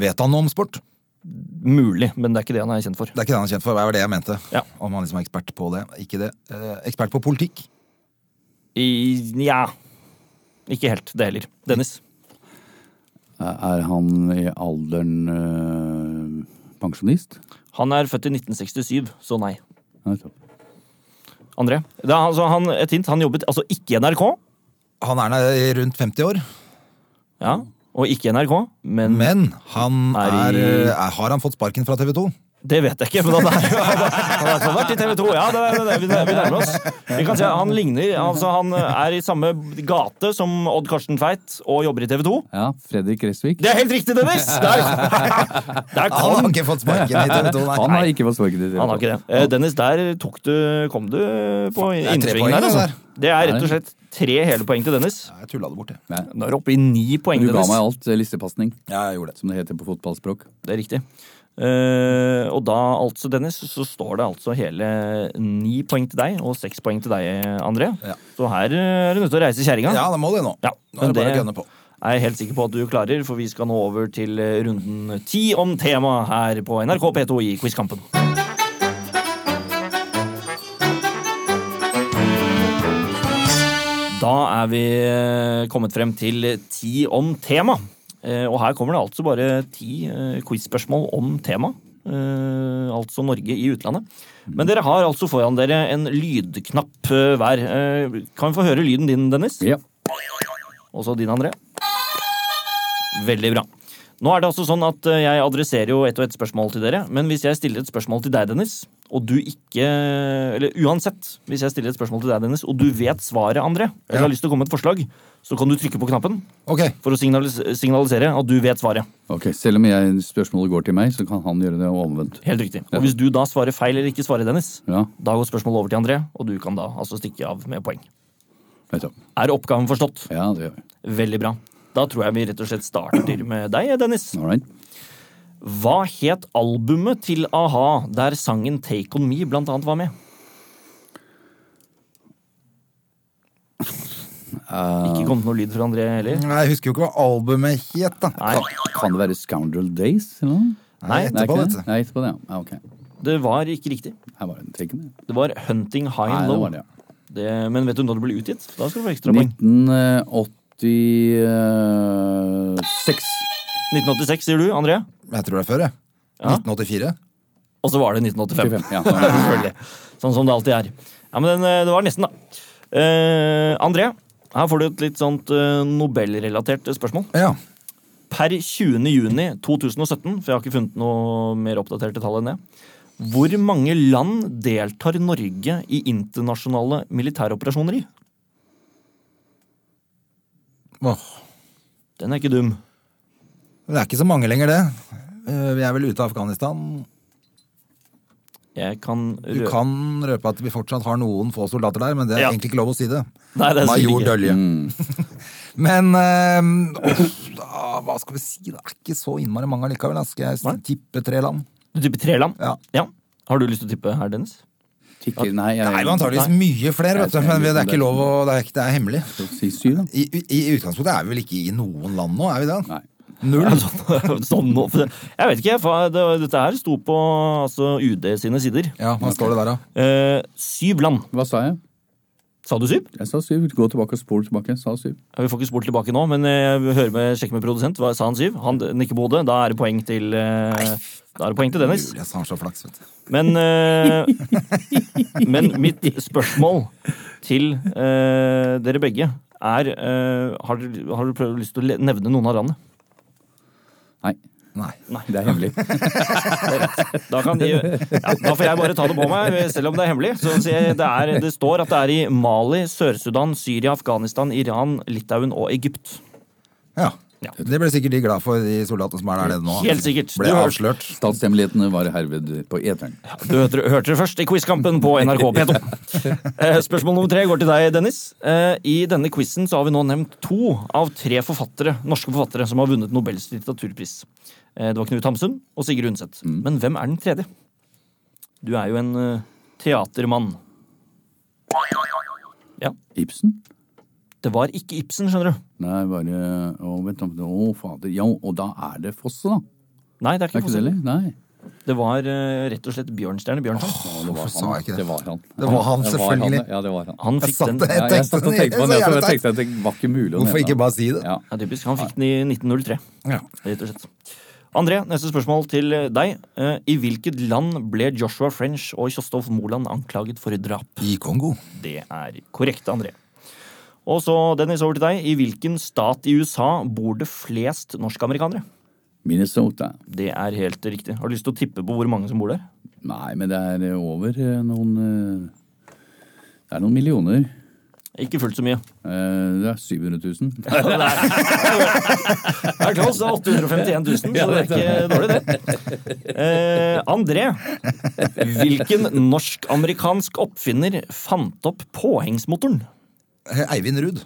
[SPEAKER 4] Vet han noe om sport?
[SPEAKER 1] Mulig, men det er ikke det han er kjent for.
[SPEAKER 4] Det er ikke det han er kjent for. Hva var det jeg mente?
[SPEAKER 1] Ja.
[SPEAKER 4] Om han liksom er ekspert på det. Ikke det. Eh, ekspert på politikk?
[SPEAKER 1] I, ja. Ikke helt, det heller. Dennis.
[SPEAKER 5] Er- Er han i alderen eh, pensjonist?
[SPEAKER 1] Han er født i 1967, så nei.
[SPEAKER 5] Ja, nettopp.
[SPEAKER 1] André. Det er, altså, han, et hint. Han jobbet altså ikke i NRK,
[SPEAKER 4] Han er nær- rundt 50 år,
[SPEAKER 1] ja, og ikke i NRK, men,
[SPEAKER 4] men han
[SPEAKER 1] Er
[SPEAKER 4] er,
[SPEAKER 1] i-
[SPEAKER 4] eh, Har han fått sparken fra TV 2?
[SPEAKER 1] det vet jeg ikke. Men han er han har i hvert fall vært i TV 2. Ja, det, er- det, er- vi, vi nærmer oss. Vi kan si at Han ligner altså, Han er i samme gate som Odd Karsten Tveit og jobber i TV 2.
[SPEAKER 5] Ja, Fredrik Gressvik.
[SPEAKER 1] Det er helt riktig, Dennis! Der, der
[SPEAKER 4] Han har
[SPEAKER 1] kom
[SPEAKER 4] ikke fått sparken i TV 2,
[SPEAKER 5] Han
[SPEAKER 4] nei.
[SPEAKER 5] har ikke fått sparken i TV.
[SPEAKER 1] Han har ikke det. Eh, Dennis, der tok du, kom du på
[SPEAKER 4] er tre
[SPEAKER 1] innsvingen
[SPEAKER 4] poeng,
[SPEAKER 1] her.
[SPEAKER 4] det der.
[SPEAKER 1] Altså. Det er rett og slett tre hele poeng til Dennis.
[SPEAKER 4] Jeg tulla det bort, jeg.
[SPEAKER 1] Nå er du oppe i ni poeng,
[SPEAKER 5] Du ga
[SPEAKER 1] Dennis.
[SPEAKER 5] meg alt. eh, Lissepasning,
[SPEAKER 4] Ja, jeg gjorde det.
[SPEAKER 5] som det heter på fotballspråk.
[SPEAKER 1] Det er riktig. Eh, og da, altså, Dennis, så står det altså hele ni poeng til deg og seks poeng til deg, André.
[SPEAKER 4] Ja.
[SPEAKER 1] Så her eh, er du nødt til å reise kjerringa.
[SPEAKER 4] Ja, det må det nå.
[SPEAKER 1] Ja,
[SPEAKER 4] nå er
[SPEAKER 1] men
[SPEAKER 4] det bare
[SPEAKER 1] det-
[SPEAKER 4] å gønne på.
[SPEAKER 1] er jeg helt sikker på at du klarer, for vi skal nå over til eh, runden ti om temaet her på NRK P2 i Quizkampen. Da er vi eh, kommet frem til ti om tema. Eh, Og her kommer det altså bare ti eh, quizspørsmål om tema. Eh, altså Norge i utlandet. Men dere har altså foran dere en lydknapp eh, hver. Eh, kan vi få høre lyden din, Dennis?
[SPEAKER 5] Ja.
[SPEAKER 1] Også din, André. Veldig bra. Nå er det altså sånn at eh, Jeg adresserer jo ett og ett spørsmål til dere. Men hvis jeg stiller et spørsmål til deg, Dennis, og du ikke Eller uansett, hvis jeg stiller et spørsmål til deg, Dennis, og du vet svaret, André, eller
[SPEAKER 4] Ja.
[SPEAKER 1] har lyst til å komme med et forslag, så kan du trykke på knappen
[SPEAKER 4] Ok,
[SPEAKER 1] for å signalis signalisere at du vet svaret.
[SPEAKER 5] Ok, Selv om jeg, spørsmålet går til meg, så kan han gjøre det og omvendt.
[SPEAKER 1] Helt riktig. Og hvis du da svarer feil eller ikke svarer, Dennis,
[SPEAKER 5] Ja,
[SPEAKER 1] da går spørsmålet over til André, og du kan da altså stikke av med poeng.
[SPEAKER 5] nettopp.
[SPEAKER 1] Er oppgaven forstått?
[SPEAKER 5] Ja, det gjør vi.
[SPEAKER 1] Veldig bra. Da tror jeg vi rett og slett starter med deg, Dennis.
[SPEAKER 5] All right.
[SPEAKER 1] Hva het albumet til a-ha der sangen Take On Me blant annet var med? Ikke kommet noe lyd fra André heller?
[SPEAKER 4] Nei, Jeg husker jo ikke hva albumet het, da.
[SPEAKER 1] Nei.
[SPEAKER 5] Kan det være Scoundrel Days? eller noe?
[SPEAKER 1] Nei,
[SPEAKER 5] Det er
[SPEAKER 4] etterpå,
[SPEAKER 5] ikke
[SPEAKER 4] vet
[SPEAKER 5] det?
[SPEAKER 4] du.
[SPEAKER 5] Nei, etterpå det, ja. ja ok.
[SPEAKER 1] Det var ikke riktig.
[SPEAKER 5] Her var det taken, ja.
[SPEAKER 1] Det var Hunting High
[SPEAKER 5] Nei,
[SPEAKER 1] and
[SPEAKER 5] det
[SPEAKER 1] Low.
[SPEAKER 5] var det, ja.
[SPEAKER 1] Det, men vet du når det ble utgitt? Da skal du få ekstra poeng.
[SPEAKER 5] eh, 1986.
[SPEAKER 1] 1986, sier du, André?
[SPEAKER 4] Jeg tror det er før, jeg. 1984.
[SPEAKER 1] Og så var det 1985.
[SPEAKER 5] 25, ja.
[SPEAKER 1] Selvfølgelig. Sånn som det alltid er. Ja, men den, eh, det var nesten, da. Eh, André, her får du et litt sånt eh, Nobel-relatert eh, spørsmål.
[SPEAKER 4] Ja.
[SPEAKER 1] Per 20. juni 2017, for jeg har ikke funnet noe mer oppdaterte tall enn det, hvor mange land deltar Norge i internasjonale militæroperasjoner i?
[SPEAKER 4] Åh.
[SPEAKER 1] Den er ikke dum.
[SPEAKER 4] Det er ikke så mange lenger, det. Eh, Vi er vel ute av Afghanistan.
[SPEAKER 1] Jeg kan
[SPEAKER 4] Du
[SPEAKER 1] rø-
[SPEAKER 4] kan røpe at vi fortsatt har noen få soldater der, men det er
[SPEAKER 1] Ja.
[SPEAKER 4] egentlig ikke lov å si det.
[SPEAKER 1] Nei, det er sikkert
[SPEAKER 4] Major
[SPEAKER 1] ikke. Mm.
[SPEAKER 4] Dølje. men eh, åh, da, hva skal vi si? Det er ikke så innmari mange allikevel. da. Skal jeg
[SPEAKER 1] Nei.
[SPEAKER 4] s- tippe tre land?
[SPEAKER 1] Du tipper tre land?
[SPEAKER 4] Ja.
[SPEAKER 1] Har du lyst til å tippe her, Dennis?
[SPEAKER 5] Tikker, nei, jeg,
[SPEAKER 4] Det er jo antageligvis mye flere, vet du, men det er ikke lov å Det er, ikke, det er hemmelig.
[SPEAKER 5] Si syv, da.
[SPEAKER 4] I, i, I utgangspunktet er vi vel ikke i noen land nå, er vi det?
[SPEAKER 5] Nei.
[SPEAKER 1] Ja, sånn, sånn nå. for det- Jeg vet ikke. fa- det- Dette her sto på altså, UD sine sider.
[SPEAKER 4] Ja, hva står det der, da?
[SPEAKER 1] Eh, syv land.
[SPEAKER 5] Hva sa jeg?
[SPEAKER 1] Sa du syv?
[SPEAKER 5] Jeg sa syv. Gå tilbake og spol tilbake. Sa syv.
[SPEAKER 1] Ja, Vi får ikke spurt tilbake nå, men eh, vi hører med, sjekker med produsent. Hva sa han syv? Han nikker på hodet. Da er det poeng til eh, Da er det poeng til Dennis.
[SPEAKER 4] Julius har så flaks, vet du.
[SPEAKER 1] Men, eh, men mitt spørsmål til eh, dere begge er eh, Har dere har dere prøvd lyst til å le- nevne noen av landene?
[SPEAKER 5] Nei.
[SPEAKER 4] Nei.
[SPEAKER 5] Det er hemmelig.
[SPEAKER 1] Da, kan de, ja, da får jeg bare ta det på meg, selv om det er hemmelig. Så sier jeg, det, er, det står at det er i Mali, Sør-Sudan, Syria, Afghanistan, Iran, Litauen og Egypt.
[SPEAKER 4] Ja.
[SPEAKER 1] Ja.
[SPEAKER 4] Det ble sikkert de glad for, de soldatene som er der nede nå.
[SPEAKER 1] Helt sikkert.
[SPEAKER 4] Ble
[SPEAKER 1] Du har-
[SPEAKER 4] avslørt.
[SPEAKER 5] Statshemmelighetene var herved på eteren.
[SPEAKER 1] Du hørte, hørte det først i Quizkampen på NRK P2. Eh, Spørsmål nummer tre går til deg, Dennis. Eh, I denne quizen så har vi nå nevnt to av tre forfattere, norske forfattere som har vunnet Nobels litteraturpris. Eh, Det var Knut Hamsun og Sigurd Undset. Men hvem er den tredje? Du er jo en eh, teatermann. Ja,
[SPEAKER 5] Ibsen?
[SPEAKER 1] det var ikke Ibsen, skjønner du.
[SPEAKER 5] Nei, bare Å, vent da. Å, fader. Ja, og da er det Fosse, da.
[SPEAKER 1] Nei, det er
[SPEAKER 5] Er
[SPEAKER 1] ikke
[SPEAKER 5] ikke det
[SPEAKER 1] Fosse.
[SPEAKER 5] heller? Nei.
[SPEAKER 1] Det var eh, rett og slett Bjørnstjerne Bjørnson.
[SPEAKER 5] Ja, det var
[SPEAKER 4] Hvorfor sa jeg ikke det?
[SPEAKER 5] Det var han.
[SPEAKER 4] Det var han,
[SPEAKER 5] Det
[SPEAKER 4] selvfølgelig.
[SPEAKER 5] det. ja, det var han.
[SPEAKER 1] Han
[SPEAKER 4] Jeg
[SPEAKER 1] fikk
[SPEAKER 4] satt
[SPEAKER 1] den.
[SPEAKER 4] det.
[SPEAKER 5] Ja, jeg satt og tenkte på det,
[SPEAKER 4] Så
[SPEAKER 5] for jeg
[SPEAKER 4] jævlig
[SPEAKER 5] tenkte at det var ikke mulig å
[SPEAKER 4] Hvorfor
[SPEAKER 5] nevne
[SPEAKER 4] ikke bare si det?
[SPEAKER 5] Ja.
[SPEAKER 1] Ja, typisk. Han fikk den i 1903.
[SPEAKER 4] Ja.
[SPEAKER 1] Rett og slett. André, neste spørsmål til deg. Eh, I hvilket land ble Joshua French og Kjostov Moland anklaget for drap?
[SPEAKER 4] I Kongo.
[SPEAKER 1] Det er korrekt, André. Og så, Dennis, over til deg. I hvilken stat i USA bor det flest norskamerikanere?
[SPEAKER 5] Minnesota.
[SPEAKER 1] Det er helt riktig. Har du lyst til å tippe på hvor mange som bor der?
[SPEAKER 5] Nei, men det er eh, over eh, noen eh, Det er noen millioner.
[SPEAKER 1] Ikke fullt så mye.
[SPEAKER 5] Eh, Det er 700 000.
[SPEAKER 1] Det er klart, det er 851 000, så det er ikke dårlig, det. Eh, André, hvilken norsk-amerikansk oppfinner fant opp påhengsmotoren?
[SPEAKER 4] Eivind Ruud.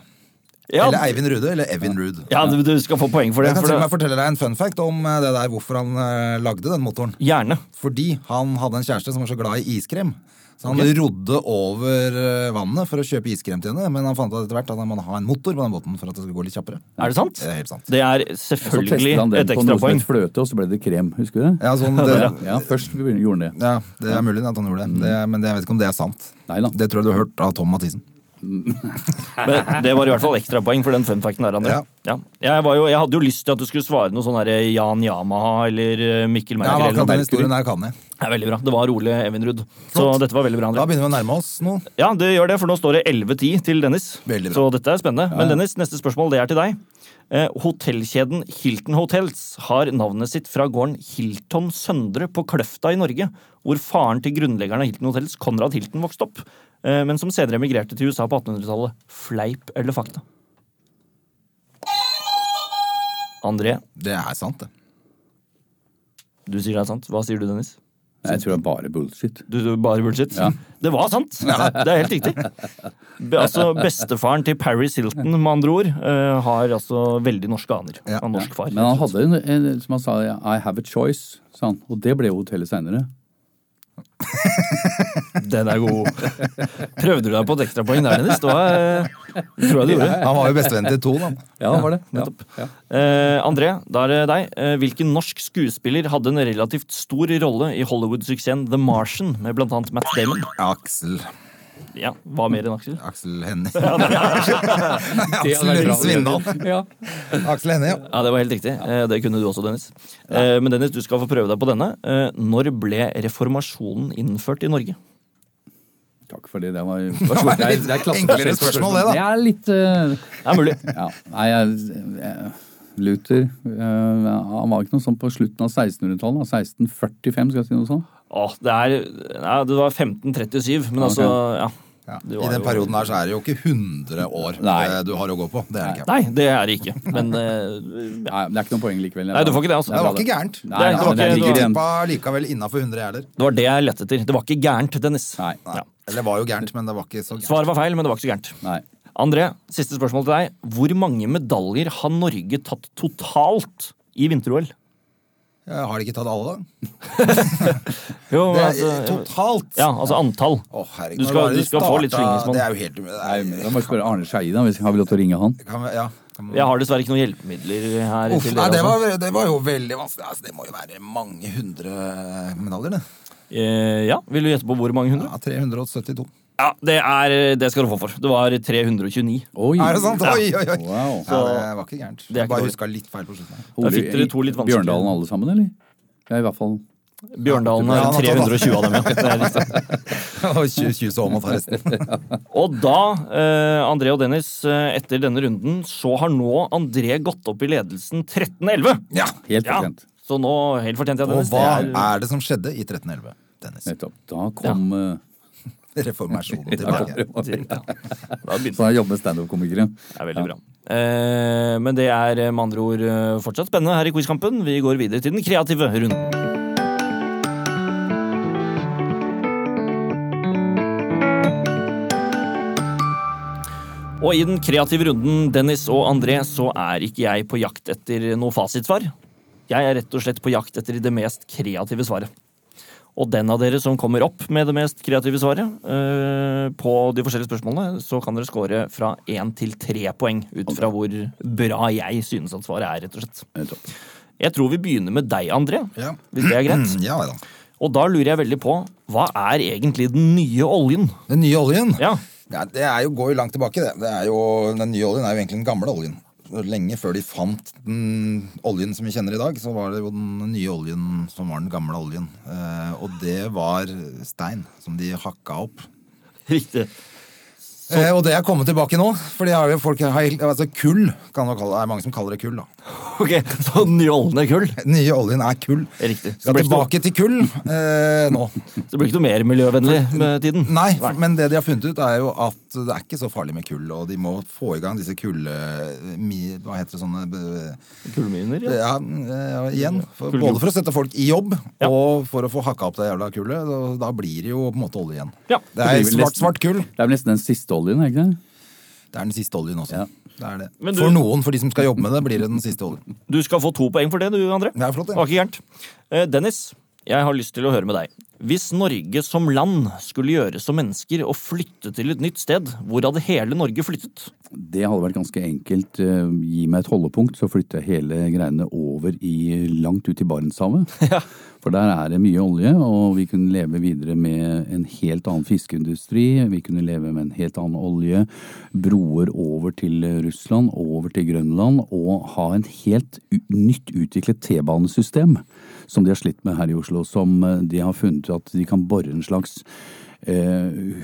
[SPEAKER 1] Ja,
[SPEAKER 4] Eller Eivind Rude, eller Evin Ruud.
[SPEAKER 1] Ja, du, du skal få poeng for det.
[SPEAKER 4] Jeg kan
[SPEAKER 1] For
[SPEAKER 4] til og med
[SPEAKER 1] det
[SPEAKER 4] fortelle deg en fun fact om eh, det der hvorfor han eh, lagde den motoren.
[SPEAKER 1] gjerne.
[SPEAKER 4] Fordi han hadde en kjæreste som var så glad i iskrem. Så han rodde over eh, vannet for å kjøpe iskrem til henne, men han fant ut etter hvert at han måtte ha en motor på den båten for at det skulle gå litt kjappere.
[SPEAKER 1] Er det sant?
[SPEAKER 4] Det er helt sant.
[SPEAKER 1] Det er
[SPEAKER 5] Så
[SPEAKER 1] selvfølgelig
[SPEAKER 5] testet han den
[SPEAKER 1] et
[SPEAKER 5] på noe som
[SPEAKER 1] ekstrapoeng.
[SPEAKER 5] het fløte, og så ble det krem. Husker du det?
[SPEAKER 4] Ja, sånn, det,
[SPEAKER 5] Ja, først vi begynner- gjorde han det.
[SPEAKER 4] ja, det er mulig at han gjorde
[SPEAKER 1] Mm.
[SPEAKER 4] det, det men det, jeg vet ikke om det er sant.
[SPEAKER 5] Nei da.
[SPEAKER 4] Det tror jeg du har hørt av Tom Mathisen.
[SPEAKER 1] Men det var i hvert fall ekstrapoeng for den funfacten der, André.
[SPEAKER 4] Ja.
[SPEAKER 1] Ja. Jeg, var jo, jeg hadde jo lyst til at du skulle svare noe sånn her Jan Yamaha eller eh, Mikkel
[SPEAKER 4] Ja,
[SPEAKER 1] Merker. eller
[SPEAKER 4] akkurat
[SPEAKER 1] noe
[SPEAKER 4] den
[SPEAKER 1] Mercury.
[SPEAKER 4] historien her kan jeg.
[SPEAKER 1] Det er veldig bra. Det var Ole Evinrud. Så
[SPEAKER 4] Flott.
[SPEAKER 1] dette var veldig bra,
[SPEAKER 4] Da
[SPEAKER 1] André.
[SPEAKER 4] begynner vi å nærme oss noe.
[SPEAKER 1] Ja, det gjør det, for nå står det 11-10 til Dennis.
[SPEAKER 4] Veldig bra.
[SPEAKER 1] Så dette er spennende. Men Dennis, neste spørsmål det er til deg. Eh, Hotellkjeden Hilton Hotels har navnet sitt fra gården Hilton Søndre på Kløfta i Norge, hvor faren til grunnleggeren av Hilton Hotels, Konrad Hilton, vokste opp, eh, men som senere emigrerte til USA på 1800-tallet. Fleip eller fakta? André,
[SPEAKER 4] Det er sant, det.
[SPEAKER 1] du sier det er sant. Hva sier du, Dennis?
[SPEAKER 5] Jeg tror det er bare bullshit.
[SPEAKER 1] Du, du bare bullshit. Det var sant! Det er helt riktig. Be, altså, bestefaren til Paris Hilton, med andre ord, eh, har altså veldig norske aner.
[SPEAKER 4] Ja.
[SPEAKER 1] Av norsk far.
[SPEAKER 5] Men han hadde en, en som han sa, I have a choice, sa han. Og det ble jo hotellet seinere.
[SPEAKER 1] Den er god. Prøvde du deg på et ekstrapoeng der, Dennis? Det var, eh, tror jeg du gjorde.
[SPEAKER 4] Han var jo bestevenn til to, da.
[SPEAKER 5] Ja, det var det. Ja.
[SPEAKER 1] Nettopp. Eh, André, da er det deg. Eh, hvilken norsk skuespiller hadde en relativt stor rolle i Hollywood-suksessen The Martian, med blant annet Matt Damon?
[SPEAKER 4] Aksel
[SPEAKER 1] Ja, hva mer enn Aksel?
[SPEAKER 4] Aksel Hennie. Aksel Lund Svindal.
[SPEAKER 5] Ja.
[SPEAKER 4] Aksel Hennie, ja.
[SPEAKER 1] Ja, det var helt riktig. Eh, Det kunne du også, Dennis. Eh, Men Dennis, du skal få prøve deg på denne. Eh, Når ble reformasjonen innført i Norge?
[SPEAKER 5] takk for det. Det var,
[SPEAKER 4] var litt enklere spørsmål, det, da.
[SPEAKER 5] Det er litt eh,
[SPEAKER 1] Det er mulig.
[SPEAKER 5] ja. Nei, jeg, jeg Luther eh, Han var ikke noe sånn på slutten av 1600-tallet. da. 1645, skal jeg si noe sånt?
[SPEAKER 1] Åh, det er Nei, det var 1537, men altså Ja.
[SPEAKER 4] Ja.
[SPEAKER 1] Det
[SPEAKER 4] I
[SPEAKER 1] var
[SPEAKER 4] den
[SPEAKER 1] jo-
[SPEAKER 4] perioden her så er det jo ikke 100 år
[SPEAKER 5] Nei.
[SPEAKER 4] eh, du har å gå på. Det er det ikke.
[SPEAKER 1] Nei, det er det ikke. Men eh,
[SPEAKER 5] Nei, det er ikke noe poeng likevel.
[SPEAKER 1] Nei, du får ikke det, altså.
[SPEAKER 4] Det var ikke gærent.
[SPEAKER 5] Nei,
[SPEAKER 1] Det er-
[SPEAKER 5] ja,
[SPEAKER 4] det var
[SPEAKER 5] men
[SPEAKER 4] ikke,
[SPEAKER 5] det
[SPEAKER 4] du
[SPEAKER 5] ligger igjen.
[SPEAKER 4] tippa likevel innafor 100, jeg heller.
[SPEAKER 1] det var det jeg lette etter. Det var ikke gærent, Dennis.
[SPEAKER 5] Nei.
[SPEAKER 1] Ja.
[SPEAKER 4] Eller det var jo gærent, men det var ikke så gærent.
[SPEAKER 1] Svaret var feil, men det var ikke så gærent.
[SPEAKER 5] Nei.
[SPEAKER 1] André, siste spørsmål til deg. Hvor mange medaljer har Norge tatt totalt i vinter-OL?
[SPEAKER 4] Eh, Har de ikke tatt alle, da?
[SPEAKER 1] Jo, men
[SPEAKER 4] Det er, eh,
[SPEAKER 1] altså,
[SPEAKER 4] totalt!
[SPEAKER 1] ja, altså antall.
[SPEAKER 4] Å, herregud.
[SPEAKER 1] Du skal-
[SPEAKER 4] nå er det
[SPEAKER 1] du skal få litt
[SPEAKER 4] starta-
[SPEAKER 1] slingringsmonn.
[SPEAKER 4] Det er jo helt umulig. Det
[SPEAKER 5] Nei,
[SPEAKER 4] er-
[SPEAKER 5] Da må vi spørre Arne Skeie, da. hvis- Har vi lov til å ringe han?
[SPEAKER 4] Kan vi, ja. Kan vi-
[SPEAKER 1] Jeg har dessverre ikke noen hjelpemidler her.
[SPEAKER 4] Uff,
[SPEAKER 1] til
[SPEAKER 4] nei,
[SPEAKER 1] dere,
[SPEAKER 4] det,
[SPEAKER 1] altså.
[SPEAKER 4] var, det var jo veldig vanskelig. Altså, det må jo være mange hundre medaljer, det.
[SPEAKER 1] Eh, ja, Vil du gjette på hvor mange hundre?
[SPEAKER 4] Ja, 372.
[SPEAKER 1] Ja, det, er, eh, det skal du få for. Det var 329.
[SPEAKER 5] Oi!
[SPEAKER 4] Er det sant? Oi, oi, oi! Ja,
[SPEAKER 5] Wow.
[SPEAKER 4] det var ikke gærent.
[SPEAKER 1] er ikke
[SPEAKER 4] Jeg bare
[SPEAKER 1] dårlig.
[SPEAKER 4] huska litt feil på slutten. her.
[SPEAKER 1] Da fikk dere to litt vanskelige.
[SPEAKER 5] Bjørndalen alle sammen, eller? Ja, i hvert fall.
[SPEAKER 1] Bjørndalen
[SPEAKER 4] Ja,
[SPEAKER 1] har
[SPEAKER 4] han har tatt
[SPEAKER 1] 320 av dem, ja. Det er riktig.
[SPEAKER 4] Og tju- tjuse om og ta resten.
[SPEAKER 1] Og da, eh, André og Dennis, eh, etter denne runden, så har nå André gått opp i ledelsen 13-11.
[SPEAKER 4] Ja.
[SPEAKER 5] Helt
[SPEAKER 1] Ja,
[SPEAKER 5] fortjent.
[SPEAKER 1] så nå helt fortjent, ja,
[SPEAKER 4] Og
[SPEAKER 1] Dennis.
[SPEAKER 4] hva
[SPEAKER 1] Det
[SPEAKER 4] er det som skjedde i 1311? Dennis.
[SPEAKER 5] Nettopp. Da kom eh,
[SPEAKER 4] Reformasjonen tilbake.
[SPEAKER 1] Ja. Da begynte
[SPEAKER 5] Så jeg jobber med standup-komikere.
[SPEAKER 1] Det er veldig bra. Eh, men det er eh, med andre ord eh, fortsatt spennende her i Quizkampen. Vi går videre til den kreative runden. Og i den kreative runden, Dennis og André, så er ikke jeg på jakt etter noe fasitsvar. Jeg er rett og slett på jakt etter det mest kreative svaret. Og den av dere som kommer opp med det mest kreative svaret eh, på de forskjellige spørsmålene, så kan dere score fra én til tre poeng ut fra hvor bra jeg synes at svaret er, rett og slett.
[SPEAKER 5] Nettopp.
[SPEAKER 1] Jeg tror vi begynner med deg, André,
[SPEAKER 4] Ja.
[SPEAKER 1] hvis det er greit.
[SPEAKER 4] Mm, ja da.
[SPEAKER 1] Og da lurer jeg veldig på, hva er egentlig den nye oljen?
[SPEAKER 4] Den nye oljen
[SPEAKER 1] Ja.
[SPEAKER 4] Ja, det er jo, går jo langt tilbake, det. det er jo, den nye oljen er jo egentlig den gamle oljen. Lenge før de fant den oljen som vi kjenner i dag, så var det jo den nye oljen som var den gamle oljen. Eh, og det var stein som de hakka opp.
[SPEAKER 1] Riktig.
[SPEAKER 4] Eh, og det er kommet tilbake nå, for det har jo folk altså Kull kan man kalle det. Det er mange som kaller det kull, da.
[SPEAKER 1] Ok, så den nye oljen er kull.
[SPEAKER 4] Nye oljen er kull.
[SPEAKER 1] Riktig. Så
[SPEAKER 4] Skal
[SPEAKER 1] det blir
[SPEAKER 4] tilbake til kull eh, nå.
[SPEAKER 1] Så det blir ikke noe mer miljøvennlig med tiden.
[SPEAKER 4] Nei, for- men det de har funnet ut er jo at det er ikke så farlig med kull, og de må få i gang disse kull... Mi, hva heter det sånne be-
[SPEAKER 1] Kullminer, ja.
[SPEAKER 4] ja, eh, igjen, for,
[SPEAKER 1] Kulljobb.
[SPEAKER 4] både for å sette folk i jobb,
[SPEAKER 1] Ja.
[SPEAKER 4] og for å få hakka opp det jævla kullet, og da blir det jo på en måte olje igjen.
[SPEAKER 1] Ja.
[SPEAKER 4] Det
[SPEAKER 5] Det
[SPEAKER 4] er
[SPEAKER 5] blir vel
[SPEAKER 4] svart,
[SPEAKER 5] nesten-
[SPEAKER 4] svart kull.
[SPEAKER 5] Det er vel nesten den siste oljen, er det ikke det?
[SPEAKER 4] Det er den siste oljen også.
[SPEAKER 5] Ja.
[SPEAKER 4] Det er det.
[SPEAKER 1] Men du-
[SPEAKER 4] For noen, for de som skal jobbe med det, blir det den siste oljen.
[SPEAKER 1] Du skal få to poeng for det, du, André.
[SPEAKER 4] Det er flott, det.
[SPEAKER 1] det. var ikke gærent. Eh, Dennis, jeg har lyst til å høre med deg. Hvis Norge som land skulle gjøre som mennesker og flytte til et nytt sted, hvor hadde hele Norge flyttet?
[SPEAKER 5] Det hadde vært ganske enkelt. Eh, Gi meg et holdepunkt, så flytter jeg hele greiene over i langt ut i Barentshavet. For der er det mye olje, og vi kunne leve videre med en helt annen fiskeindustri. Vi kunne leve med en helt annen olje. Broer over til Russland, over til Grønland, og ha en helt u- nytt utviklet T-banesystem som de har slitt med her i Oslo. Som eh, de har funnet ut at de kan bore en slags eh,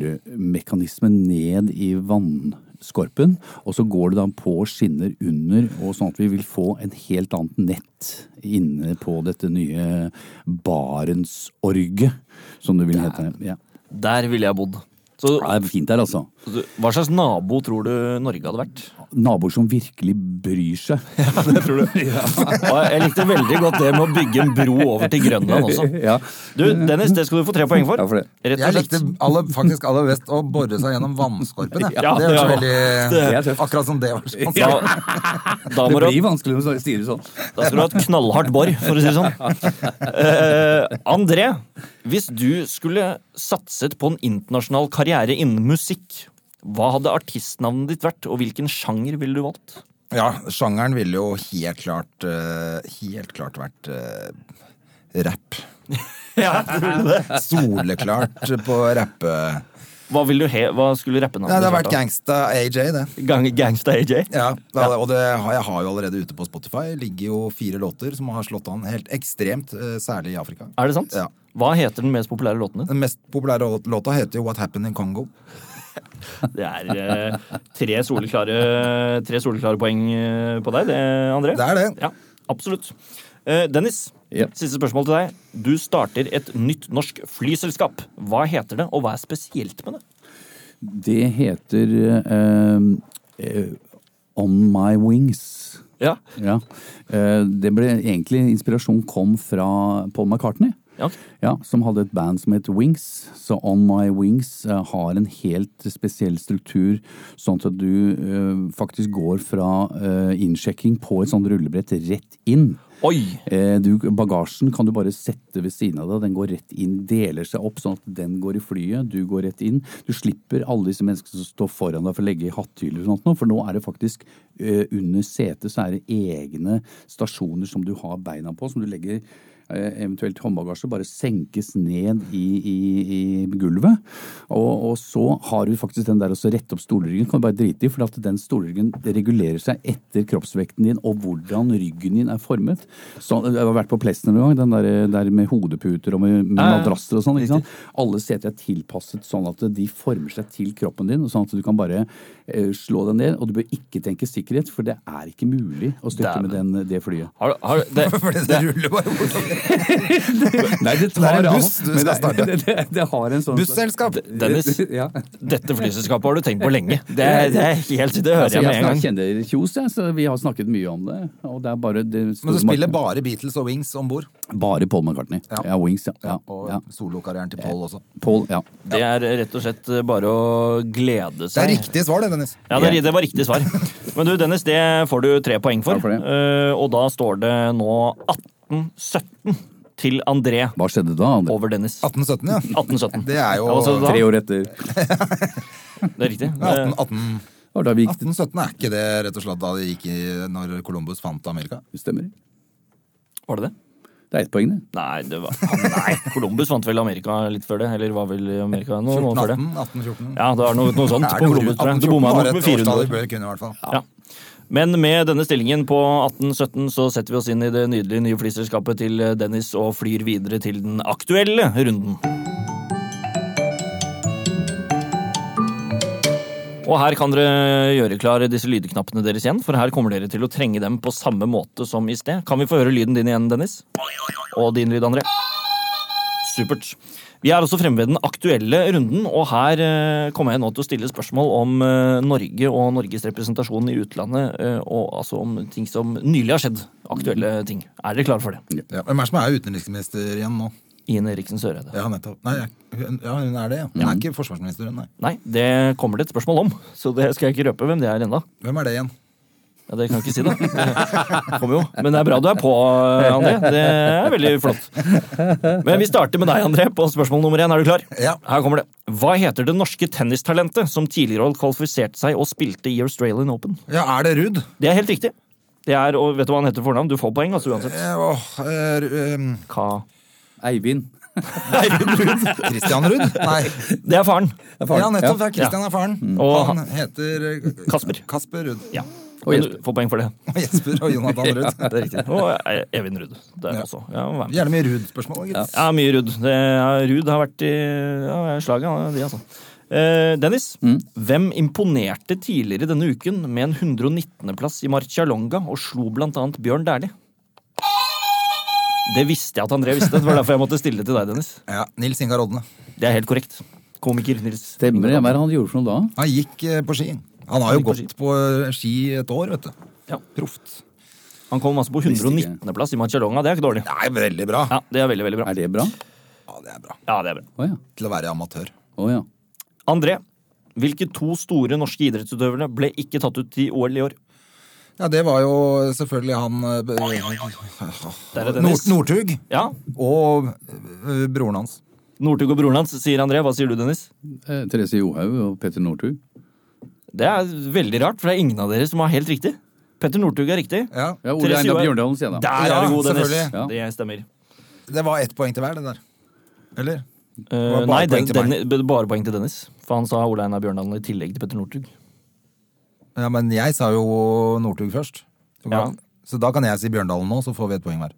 [SPEAKER 5] hullmekanisme ned i vannskorpen, og så går det da på skinner under, og sånn at vi vil få en helt annet nett inne på dette nye Barentsorget, som det vil hete. Ja.
[SPEAKER 1] Der ville jeg bodd. Så
[SPEAKER 5] Det er fint der, altså.
[SPEAKER 1] så hva slags nabo tror du Norge hadde vært?
[SPEAKER 5] Naboer som virkelig bryr seg.
[SPEAKER 1] Det tror du. Og jeg likte veldig godt det med å bygge en bro over til Grønland også.
[SPEAKER 5] Ja.
[SPEAKER 1] Du, Dennis, det skal du få tre poeng for.
[SPEAKER 5] Ja, for det.
[SPEAKER 1] Rett og
[SPEAKER 4] Jeg
[SPEAKER 1] slett.
[SPEAKER 4] likte alle, faktisk aller best å bore seg gjennom vannskorpen. jeg.
[SPEAKER 1] Ja,
[SPEAKER 4] det hørtes
[SPEAKER 1] det
[SPEAKER 4] veldig Akkurat som det var sånn.
[SPEAKER 1] Da, da må
[SPEAKER 5] Det
[SPEAKER 1] du
[SPEAKER 5] blir vanskelig når du sier det sånn.
[SPEAKER 1] Da skal du ha et knallhardt bor, for å si det sånn. Eh, André, hvis du skulle satset på en internasjonal karriere innen musikk, hva hadde artistnavnet ditt vært, og hvilken sjanger ville du valgt?
[SPEAKER 4] Ja, sjangeren ville jo helt klart eh, Helt klart vært eh, rapp. Soleklart på rappe...
[SPEAKER 1] Hva, ville du he hva skulle rappenavnet
[SPEAKER 4] Nei, det har vært
[SPEAKER 1] ditt vært?
[SPEAKER 4] gangsta AJ, det.
[SPEAKER 1] da? Gang Gangsta AJ?
[SPEAKER 4] Ja, det er det, og det har, jeg har jo allerede ute på Spotify. Ligger jo fire låter som har slått an helt ekstremt, eh, særlig i Afrika.
[SPEAKER 1] Er det sant?
[SPEAKER 4] Ja.
[SPEAKER 1] Hva heter den mest populære låten din?
[SPEAKER 4] Den mest populære lå- låta heter jo What Happened in Congo.
[SPEAKER 1] Det er eh, tre soleklare, tre soleklare poeng eh, på deg, det, André.
[SPEAKER 4] Det er det.
[SPEAKER 1] Ja, absolutt. Eh, Dennis,
[SPEAKER 5] Ja.
[SPEAKER 1] siste spørsmål til deg. Du starter et nytt norsk flyselskap. Hva heter det, og hva er spesielt med det?
[SPEAKER 5] Det heter eh, eh, On My Wings.
[SPEAKER 1] Ja,
[SPEAKER 5] Ja. Eh, det ble egentlig Inspirasjon kom fra Paul McCartney.
[SPEAKER 1] Ja, ok.
[SPEAKER 5] Ja, som hadde et band som het Wings. Så On My Wings eh, har en helt spesiell struktur, sånn at du eh, faktisk går fra eh, innsjekking på et sånt rullebrett rett inn.
[SPEAKER 1] Oi!
[SPEAKER 5] Eh, du, bagasjen kan du bare sette ved siden av deg. Den går rett inn, deler seg opp sånn at den går i flyet, du går rett inn. Du slipper alle disse menneskene som står foran deg for å legge i hatthyller og sånt, nå, for nå er det faktisk eh, under setet så er det egne stasjoner som du har beina på, som du legger eh, eventuelt håndbagasje, bare senkes ned i, i, i gulvet. Og, og så har du faktisk den der å rette opp stolryggen, kan du bare drite i, for at den stolryggen regulerer seg etter kroppsvekten din og hvordan ryggen din er formet. Så, jeg har vært på Plesten en gang, den der, der med hodeputer og med, med
[SPEAKER 1] Ja, ja.
[SPEAKER 5] madrasser og sånn. ikke sant? Alle seter er tilpasset sånn at de former seg til kroppen din, sånn at du kan bare eh, slå deg ned. Og du bør ikke tenke sikkerhet, for det er ikke mulig å styrte med den, det flyet.
[SPEAKER 1] Har, har, det,
[SPEAKER 4] Fordi det ruller bare bortover.
[SPEAKER 5] Nei, det
[SPEAKER 4] Det er
[SPEAKER 5] tar
[SPEAKER 4] en
[SPEAKER 5] av.
[SPEAKER 4] buss du
[SPEAKER 5] men
[SPEAKER 4] skal
[SPEAKER 5] det-
[SPEAKER 4] starte.
[SPEAKER 5] Det, det, det har en sånn
[SPEAKER 4] Busselskap!
[SPEAKER 1] Dennis,
[SPEAKER 5] Ja.
[SPEAKER 1] dette flyselskapet har du tenkt på lenge. Det, er- det er helt, det hører
[SPEAKER 5] Altså,
[SPEAKER 1] jeg med
[SPEAKER 5] jeg
[SPEAKER 1] en
[SPEAKER 5] snak-
[SPEAKER 1] gang.
[SPEAKER 5] kjenner Kjos, jeg, så vi har snakket mye om det. Og det er bare det store
[SPEAKER 4] Men du spiller
[SPEAKER 5] markedet.
[SPEAKER 4] bare Beatles og Wings om bord.
[SPEAKER 5] Bare Paul McCartney. Ja, Wings, ja. ja.
[SPEAKER 4] Og
[SPEAKER 5] ja. Eh,
[SPEAKER 4] solokarrieren til Paul også.
[SPEAKER 5] Paul, ja.
[SPEAKER 1] Det er rett og slett bare å glede
[SPEAKER 4] Det
[SPEAKER 1] seg.
[SPEAKER 4] er riktig svar, det, Dennis.
[SPEAKER 1] Ja, det, er- det var riktig svar. Men du, Dennis, det får du tre poeng for.
[SPEAKER 5] Takk for det.
[SPEAKER 1] Eh, og da står det nå 18-17 til André
[SPEAKER 5] Hva skjedde da, André?
[SPEAKER 1] over Dennis.
[SPEAKER 4] 1817, ja.
[SPEAKER 1] 18-17.
[SPEAKER 4] Det er jo
[SPEAKER 1] Ja, altså, da-
[SPEAKER 5] Tre år etter. Det
[SPEAKER 1] Det er riktig.
[SPEAKER 4] Ja,
[SPEAKER 1] Eh,
[SPEAKER 4] 18, 18,
[SPEAKER 5] var da vi gikk
[SPEAKER 4] 1817 er ikke det rett og slett da det gikk i når Columbus fant Amerika?
[SPEAKER 5] Stemmer.
[SPEAKER 1] Eh, Var det det?
[SPEAKER 5] Det er ett poeng, det.
[SPEAKER 1] Nei, det var, ah, nei, Columbus vant vel Amerika litt før det? Eller var vel i Amerika nå, nå før
[SPEAKER 4] 1418,
[SPEAKER 1] det?
[SPEAKER 4] 1814.
[SPEAKER 1] Ja, det var noe, noe sånt
[SPEAKER 4] Er
[SPEAKER 1] på
[SPEAKER 4] det noe
[SPEAKER 1] Columbus, tror jeg. Du
[SPEAKER 4] 1814
[SPEAKER 1] bomma
[SPEAKER 4] var
[SPEAKER 1] nok med
[SPEAKER 4] et
[SPEAKER 1] 400
[SPEAKER 4] årstall
[SPEAKER 1] år.
[SPEAKER 4] vi bør kunne, i hvert fall.
[SPEAKER 1] Ja. Men med denne stillingen på 1817 så setter vi oss inn i det nydelige nye flyselskapet til Dennis og flyr videre til den aktuelle runden. Og her kan dere gjøre klar disse lydknappene deres igjen, for her kommer dere til å trenge dem på samme måte som i sted. Kan vi få høre lyden din igjen, Dennis? Og din lyd, André? Supert. Vi er også fremme ved den aktuelle runden, og her eh, kommer jeg nå til å stille spørsmål om eh, Norge og Norges representasjon i utlandet, eh, og altså om ting som nylig har skjedd. Aktuelle ting. Er dere klare for det?
[SPEAKER 4] Ja, Hvem er det som er utenriksminister igjen nå?
[SPEAKER 1] Ine Eriksen Søreide.
[SPEAKER 4] Ja, nettopp. Nei, hun, ja, hun er det, ja. Hun er ikke forsvarsminister, hun, nei.
[SPEAKER 1] Nei, det kommer det et spørsmål om, så det skal jeg ikke røpe hvem det er ennå.
[SPEAKER 4] Hvem er det igjen?
[SPEAKER 1] Ja, det kan jeg ikke si, da. Det Kommer jo. Men det er bra du er på, eh, André. Det er veldig flott. Men vi starter med deg, André, på spørsmål nummer én. Er du klar?
[SPEAKER 4] Ja.
[SPEAKER 1] Her kommer det. Hva heter det norske tennistalentet som tidligere har kvalifisert seg og spilte i Australian Open?
[SPEAKER 4] Ja, er det Ruud?
[SPEAKER 1] Det er helt riktig. Det er, og Vet du hva han heter for fornavn? Du får poeng, altså uansett.
[SPEAKER 4] Eh, åh, eh, Ru- eh,
[SPEAKER 1] Hva?
[SPEAKER 5] Eivind.
[SPEAKER 4] Christian Ruud? Nei.
[SPEAKER 1] Det er faren.
[SPEAKER 4] Ja, nettopp. Det er Christian er faren.
[SPEAKER 1] Og
[SPEAKER 4] Han heter eh,
[SPEAKER 1] Kasper.
[SPEAKER 4] Kasper Ruud.
[SPEAKER 1] Ja.
[SPEAKER 5] Og
[SPEAKER 1] Men
[SPEAKER 5] Jesper.
[SPEAKER 1] du får poeng for det.
[SPEAKER 4] Og Jesper og Jonathan Ruud.
[SPEAKER 1] Det er riktig. Og eh, Evin Ruud. Der også. Ja, vær med.
[SPEAKER 4] Gjerne mye Ruud-spørsmål. gitt.
[SPEAKER 1] Ja, mye Ruud. Det er- Ruud har vært i ja, slaget, han, de, altså. Eh, Dennis, hvem imponerte tidligere denne uken med en 119.-plass i Marcialonga og slo blant annet Bjørn Dæhlie? Det visste jeg at André visste. Det var derfor jeg måtte stille det til deg, Dennis.
[SPEAKER 4] Ja, Nils Ingar Odne.
[SPEAKER 1] Det er helt korrekt. Komiker Nils.
[SPEAKER 5] Stemmer det? Hva er det han gjorde for noe da?
[SPEAKER 4] Han gikk eh, på ski. Han har jo
[SPEAKER 1] gikk på
[SPEAKER 4] gått på eh, ski et år, vet du.
[SPEAKER 1] Ja.
[SPEAKER 4] Proft.
[SPEAKER 1] Han kom altså på 119.-plass i Marcialonga. Det er ikke dårlig.
[SPEAKER 4] Nei, veldig bra.
[SPEAKER 1] Ja, det er veldig, veldig bra.
[SPEAKER 5] Er det bra?
[SPEAKER 4] Ja, det er bra.
[SPEAKER 1] Ja, det er bra.
[SPEAKER 5] Å ja.
[SPEAKER 4] Til å være amatør.
[SPEAKER 5] Å ja.
[SPEAKER 1] André, hvilke to store norske idrettsutøvere ble ikke tatt ut i OL i år?
[SPEAKER 4] Ja, det var jo selvfølgelig han eh, b-
[SPEAKER 1] Der er
[SPEAKER 4] Nord
[SPEAKER 1] Dennis.
[SPEAKER 4] Northug
[SPEAKER 1] Ja,
[SPEAKER 4] og eh, broren hans.
[SPEAKER 1] Northug og broren hans, sier André. Hva sier du, Dennis?
[SPEAKER 5] Eh, Therese Johaug og Petter Northug.
[SPEAKER 1] Det er veldig rart, for det er ingen av dere som har helt riktig. Petter Northug er riktig.
[SPEAKER 4] Ja.
[SPEAKER 5] Ja, Ole
[SPEAKER 1] Therese
[SPEAKER 5] Einar
[SPEAKER 1] Johaug.
[SPEAKER 5] Bjørndalen, sier jeg da.
[SPEAKER 1] Der
[SPEAKER 4] Ja,
[SPEAKER 1] er du god, Dennis.
[SPEAKER 4] selvfølgelig.
[SPEAKER 5] Ja.
[SPEAKER 1] Det stemmer.
[SPEAKER 4] Det var ett poeng til hver, det der. Eller?
[SPEAKER 1] Eh,
[SPEAKER 4] var bare
[SPEAKER 1] nei, den,
[SPEAKER 4] poeng til
[SPEAKER 1] den,
[SPEAKER 4] meg.
[SPEAKER 1] b- bare poeng til Dennis. For han sa Ole Einar Bjørndalen i tillegg til Petter Northug.
[SPEAKER 4] Ja, men jeg sa jo Northug først. Så,
[SPEAKER 1] Ja.
[SPEAKER 4] kan- så da kan jeg si Bjørndalen nå, så får vi ett poeng hver.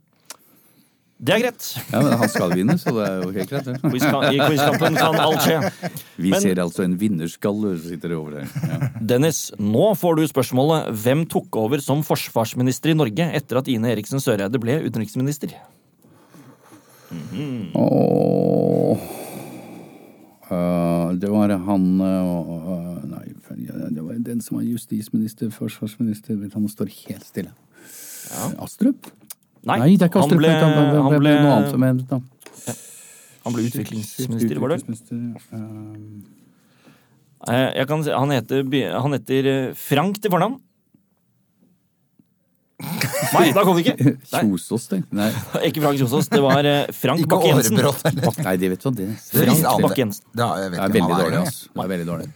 [SPEAKER 1] Det er greit.
[SPEAKER 5] Ja, men han skal vinne, så det er jo helt greit. det.
[SPEAKER 1] Quiz kan, I quizkampen kan alt skje.
[SPEAKER 5] Vi
[SPEAKER 1] Men-
[SPEAKER 5] ser altså en vinnerskalle som sitter over der. Ja.
[SPEAKER 1] Dennis, nå får du spørsmålet Hvem tok over som forsvarsminister i Norge etter at Ine Eriksen Søreide ble utenriksminister?
[SPEAKER 5] Åh. Eh, det var han eh, Nei, det var den som var justisminister, forsvarsminister vet du, Han står helt stille. Astrup? Nei, det er ikke Astrup.
[SPEAKER 1] han ble,
[SPEAKER 5] vet du, han ble,
[SPEAKER 1] han ble,
[SPEAKER 5] noe annet som jeg vet da.
[SPEAKER 1] han ble utviklingsminister, var det?
[SPEAKER 5] Utviklingsminister, eh,
[SPEAKER 1] Eh, Jeg kan, si- han, heter, By- han heter eh, Frank til fornavn. Nei, da kom det ikke. Nei,
[SPEAKER 5] Kjosås, det. Nei,
[SPEAKER 1] ikke Frank Kjosås. Det var eh, Frank
[SPEAKER 4] Ikke
[SPEAKER 1] Bakke-Jensen.
[SPEAKER 4] Årebrått, eller?
[SPEAKER 5] nei, det vet du hva det er.
[SPEAKER 4] Det visste alle.
[SPEAKER 1] Bakke-Jensen.
[SPEAKER 4] Ja, jeg vet
[SPEAKER 5] Det er
[SPEAKER 4] ikke om
[SPEAKER 5] veldig
[SPEAKER 4] han
[SPEAKER 5] dårlig,
[SPEAKER 4] det.
[SPEAKER 5] altså. Det er veldig dårlig.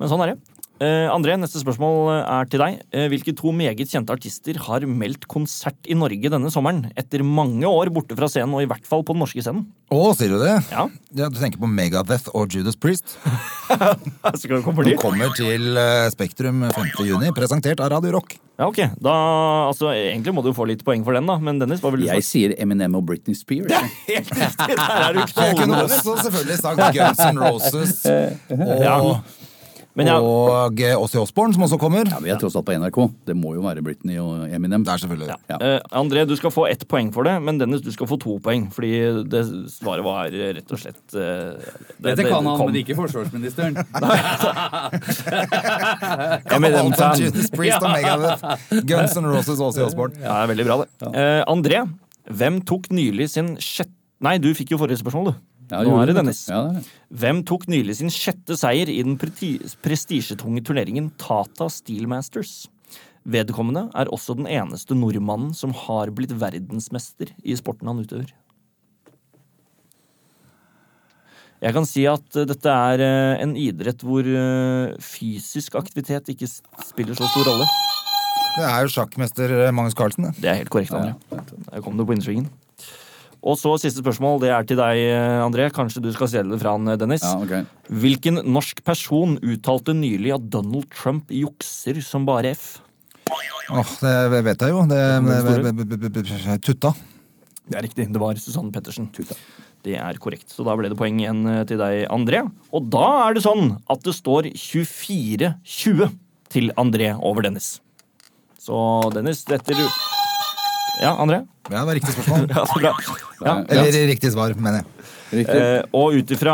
[SPEAKER 1] Men sånn er det. Eh, André, neste spørsmål er til deg. Eh, hvilke to meget kjente artister har meldt konsert i Norge denne sommeren? Etter mange år borte fra scenen, og i hvert fall på den norske scenen.
[SPEAKER 4] Å, sier du det?
[SPEAKER 1] Ja,
[SPEAKER 4] Ja, du tenker på Megadeth og Judas Priest?
[SPEAKER 1] så kan du komme for
[SPEAKER 4] De
[SPEAKER 1] de.
[SPEAKER 4] kommer til eh, Spektrum 5. juni, presentert av Radio Rock.
[SPEAKER 1] Ja, ok. Da, altså, egentlig må du jo få litt poeng for den, da. Men Dennis, hva vil du
[SPEAKER 5] Jeg
[SPEAKER 1] få?
[SPEAKER 5] sier Eminem og Britney Spears. jeg.
[SPEAKER 1] Helt riktig! Der er du
[SPEAKER 4] Jeg kunne
[SPEAKER 1] knallgod.
[SPEAKER 4] også selvfølgelig sagt Guns N' Roses og,
[SPEAKER 1] Men ja,
[SPEAKER 4] og eh, Ozzy Osbourne, som også kommer.
[SPEAKER 5] Ja, Vi er tross alt på NRK. Det må jo være Britney og Eminem.
[SPEAKER 4] Det er selvfølgelig
[SPEAKER 5] Ja.
[SPEAKER 1] eh, André, du skal få ett poeng for det, men Dennis, du skal få to poeng. Fordi det svaret var rett og slett eh, det- det kom.
[SPEAKER 5] ikke forsvarsministeren.
[SPEAKER 1] Jeg mener, den
[SPEAKER 4] Alt om
[SPEAKER 1] fan.
[SPEAKER 4] Judas Priest og Megadeth, Guns N' Roses og Ozzy Osbourne.
[SPEAKER 1] Ja, det er veldig bra, det. Eh, André, hvem tok nylig sin sjette Nei, du fikk jo forrige spørsmål, du. Nå er det Dennis.
[SPEAKER 5] Ja, det er det.
[SPEAKER 1] Hvem tok nylig sin sjette seier i den preti- prestisjetunge turneringen Tata Steelmasters? Vedkommende er også den eneste nordmannen som har blitt verdensmester i sporten han utøver. Jeg kan si at eh, dette er eh, en idrett hvor eh, fysisk aktivitet ikke s- spiller så stor rolle.
[SPEAKER 4] Det er jo sjakkmester eh, Magnus Carlsen, det.
[SPEAKER 1] Det er helt korrekt, André. Der kom du på innsvingen. Og så siste spørsmål, det er til deg, André. Kanskje du skal stjele det fra han, Dennis.
[SPEAKER 5] Ja, ok.
[SPEAKER 1] Hvilken norsk person uttalte nylig at Donald Trump jukser som bare F?
[SPEAKER 4] Åh, det vet jeg jo. Det,
[SPEAKER 1] Hvem
[SPEAKER 4] tutta.
[SPEAKER 1] Det er riktig. Det var Susanne Pettersen. Det er korrekt. Så da ble det poeng igjen eh, til deg, André. Og da er det sånn at det står 24-20 til André over Dennis. Så Dennis, dette du Ja, André?
[SPEAKER 4] Ja, det var riktig spørsmål.
[SPEAKER 1] Ja, så bra. Ja,
[SPEAKER 4] Eller riktig svar, mener jeg.
[SPEAKER 5] Riktig.
[SPEAKER 1] Eh, og ut ifra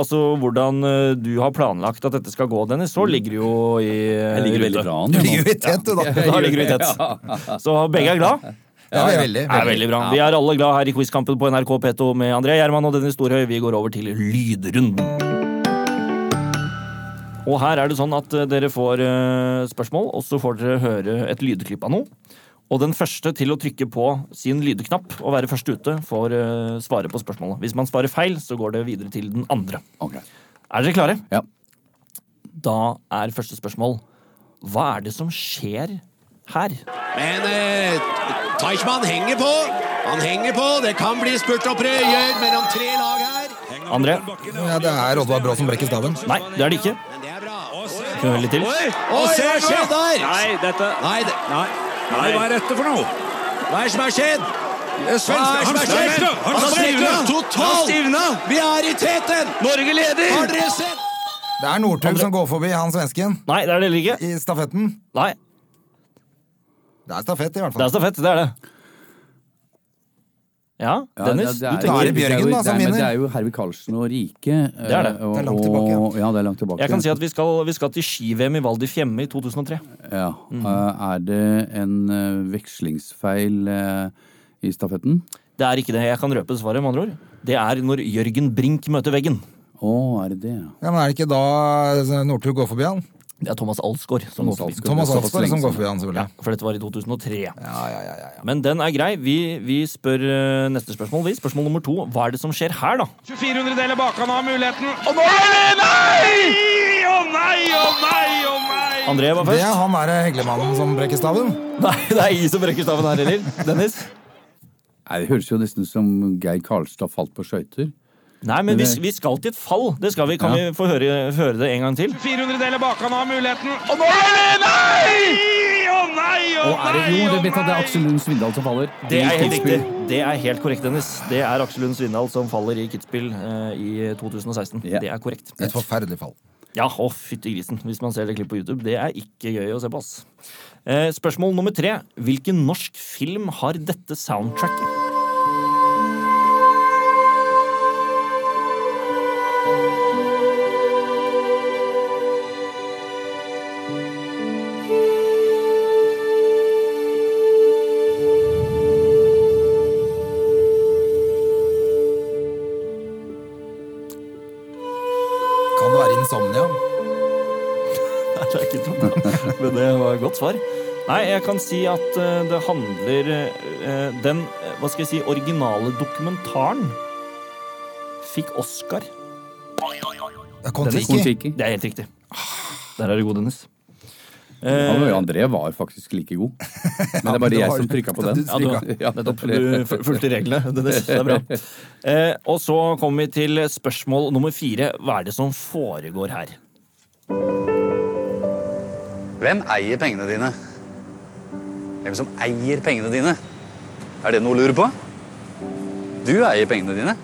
[SPEAKER 1] altså, hvordan eh, du har planlagt at dette skal gå, Dennis, så ligger du jo i eh,
[SPEAKER 5] Jeg ligger
[SPEAKER 1] rute.
[SPEAKER 5] veldig bra
[SPEAKER 4] Du
[SPEAKER 5] an.
[SPEAKER 4] ligger jo i tet, du, da.
[SPEAKER 1] Da ligger du i tett. Så begge er glad.
[SPEAKER 4] Ja, veldig,
[SPEAKER 1] Det er veldig bra. Vi er alle glad her i Quizkampen på NRK P2 med André Gjerman og Dennis Storhøy. Vi går over til lydrunden. Og her er det sånn at eh, dere får eh, spørsmål, og så får dere høre et lydklipp av noe. Og den første til å trykke på sin lydknapp og være først ute, får eh, svare på spørsmålet. Hvis man svarer feil, så går det videre til den andre.
[SPEAKER 5] Ok.
[SPEAKER 1] Er dere klare?
[SPEAKER 5] Ja.
[SPEAKER 1] Da er første spørsmål Hva er det som skjer her?
[SPEAKER 6] Men eh, Teichmann henger på. Han henger på. Det kan bli spurtopprør mellom tre lag her.
[SPEAKER 1] André?
[SPEAKER 4] Ja, det er Oddvar Brå som brekker staven.
[SPEAKER 1] Nei, det er det ikke.
[SPEAKER 6] Men det er bra.
[SPEAKER 1] Skal vi høre litt til?
[SPEAKER 6] Oi, oi, hva skjer der?
[SPEAKER 7] Nei, dette
[SPEAKER 6] Nei, det,
[SPEAKER 7] Nei. Nei, hva er dette for noe?
[SPEAKER 6] hva er det som har skjedd? Hva er det som
[SPEAKER 7] Han
[SPEAKER 6] har skjedd?
[SPEAKER 7] stivner! Han
[SPEAKER 6] Han
[SPEAKER 7] stivner!
[SPEAKER 6] stivna
[SPEAKER 7] Han
[SPEAKER 6] totalt! Vi er i teten!
[SPEAKER 7] Norge leder!
[SPEAKER 6] Har dere sett?
[SPEAKER 4] Det er Northug som går forbi han svensken
[SPEAKER 1] Nei, det er det ikke.
[SPEAKER 4] i stafetten.
[SPEAKER 1] Nei,
[SPEAKER 4] Det er stafett, i hvert
[SPEAKER 1] det
[SPEAKER 4] fall.
[SPEAKER 1] er stafett. Det er det. Ja,
[SPEAKER 5] Ja,
[SPEAKER 1] Dennis?
[SPEAKER 5] det- det er-
[SPEAKER 4] Da er det Bjørgen,
[SPEAKER 5] jo-
[SPEAKER 4] da, som
[SPEAKER 5] det er- men
[SPEAKER 4] vinner.
[SPEAKER 5] Det er jo Herve Karlsen og Rike. Det
[SPEAKER 1] er det.
[SPEAKER 4] Det er langt tilbake, ja.
[SPEAKER 5] Ja, det er langt tilbake.
[SPEAKER 1] Jeg kan si at vi skal, vi skal til ski-VM i Val di Fiemme i 2003.
[SPEAKER 5] ja. Eh, Er det en eh, vekslingsfeil eh, i stafetten?
[SPEAKER 1] Det er ikke det. Jeg kan røpe svaret, med andre ord. Det er når Jørgen Brink møter veggen.
[SPEAKER 5] Å, er det det? ja?
[SPEAKER 4] Ja, men er det ikke da eh, Northug går forbi han?
[SPEAKER 1] Det er Thomas Alsgaard som går forbi.
[SPEAKER 5] Alsgaard.
[SPEAKER 4] Thomas
[SPEAKER 5] Det er såpass
[SPEAKER 4] Alsgaard som
[SPEAKER 5] lenge
[SPEAKER 4] går
[SPEAKER 5] siden.
[SPEAKER 4] forbi han,
[SPEAKER 1] Ja,
[SPEAKER 4] selvfølgelig.
[SPEAKER 1] for dette var i 2003.
[SPEAKER 4] Ja, ja, ja, ja, ja.
[SPEAKER 1] Men den er grei. Vi, vi spør eh, neste spørsmål. Vi. Spørsmål nummer to. Hva er det som skjer her, da?
[SPEAKER 7] 400 deler bak, han har muligheten. Og nå er det nei! Å nei, å nei, å nei!
[SPEAKER 1] André var
[SPEAKER 4] Det er
[SPEAKER 1] først.
[SPEAKER 4] han derre heglemannen som brekker staven.
[SPEAKER 1] Nei, det er ingen som brekker staven her heller. Dennis?
[SPEAKER 5] Nei, Det høres jo nesten ut som Geir Karlstad falt på skøyter.
[SPEAKER 1] Nei, men vi, vi skal til et fall. Det skal vi. Kan
[SPEAKER 5] Ja.
[SPEAKER 1] vi få høre, høre det en gang til?
[SPEAKER 7] 400 deler bak, han har muligheten. Og nå er det nei! Å nei, å
[SPEAKER 5] Og er det,
[SPEAKER 7] nei,
[SPEAKER 5] jo, det
[SPEAKER 7] å
[SPEAKER 5] vet jeg, det er
[SPEAKER 7] nei!
[SPEAKER 5] Aksel Lund Svindal som faller.
[SPEAKER 1] Det er
[SPEAKER 5] I
[SPEAKER 1] helt
[SPEAKER 5] Kitzbühel.
[SPEAKER 1] riktig. Det er helt korrekt, Dennis. Det er Aksel Lund Svindal som faller i Kitzbühel eh, i 2016.
[SPEAKER 5] Ja.
[SPEAKER 1] Det er korrekt.
[SPEAKER 4] Et forferdelig fall.
[SPEAKER 1] Ja, å fytti grisen, hvis man ser det klippet på YouTube. Det er ikke gøy å se på, ass. Eh, spørsmål nummer tre. Hvilken norsk film har dette soundtracket?
[SPEAKER 4] Kan det være insomnia?
[SPEAKER 1] Nei, det er ikke sånn, men det var et godt svar. Nei, jeg kan si at eh, det handler eh, Den, eh, hva skal jeg si, originale dokumentaren fikk Oscar.
[SPEAKER 4] Ja, Kon-Tiki.
[SPEAKER 5] Kon-Tiki.
[SPEAKER 1] Det er helt riktig. Der er du god, Dennis.
[SPEAKER 5] Ja,
[SPEAKER 1] Eh,
[SPEAKER 5] men André var faktisk like god. Men det er
[SPEAKER 4] men
[SPEAKER 5] bare
[SPEAKER 4] det
[SPEAKER 5] jeg
[SPEAKER 4] var-
[SPEAKER 5] som trykka på
[SPEAKER 4] Ja,
[SPEAKER 5] den.
[SPEAKER 4] du
[SPEAKER 1] Ja, du,
[SPEAKER 5] Ja,
[SPEAKER 1] nettopp. Du fu- fulgte reglene. Det, det, det er bra. Eh, og så kommer vi til spørsmål nummer fire. Hva er det som foregår her?
[SPEAKER 8] Hvem eier pengene dine? Hvem som eier pengene dine? Er det noe å lure på? Du eier pengene dine.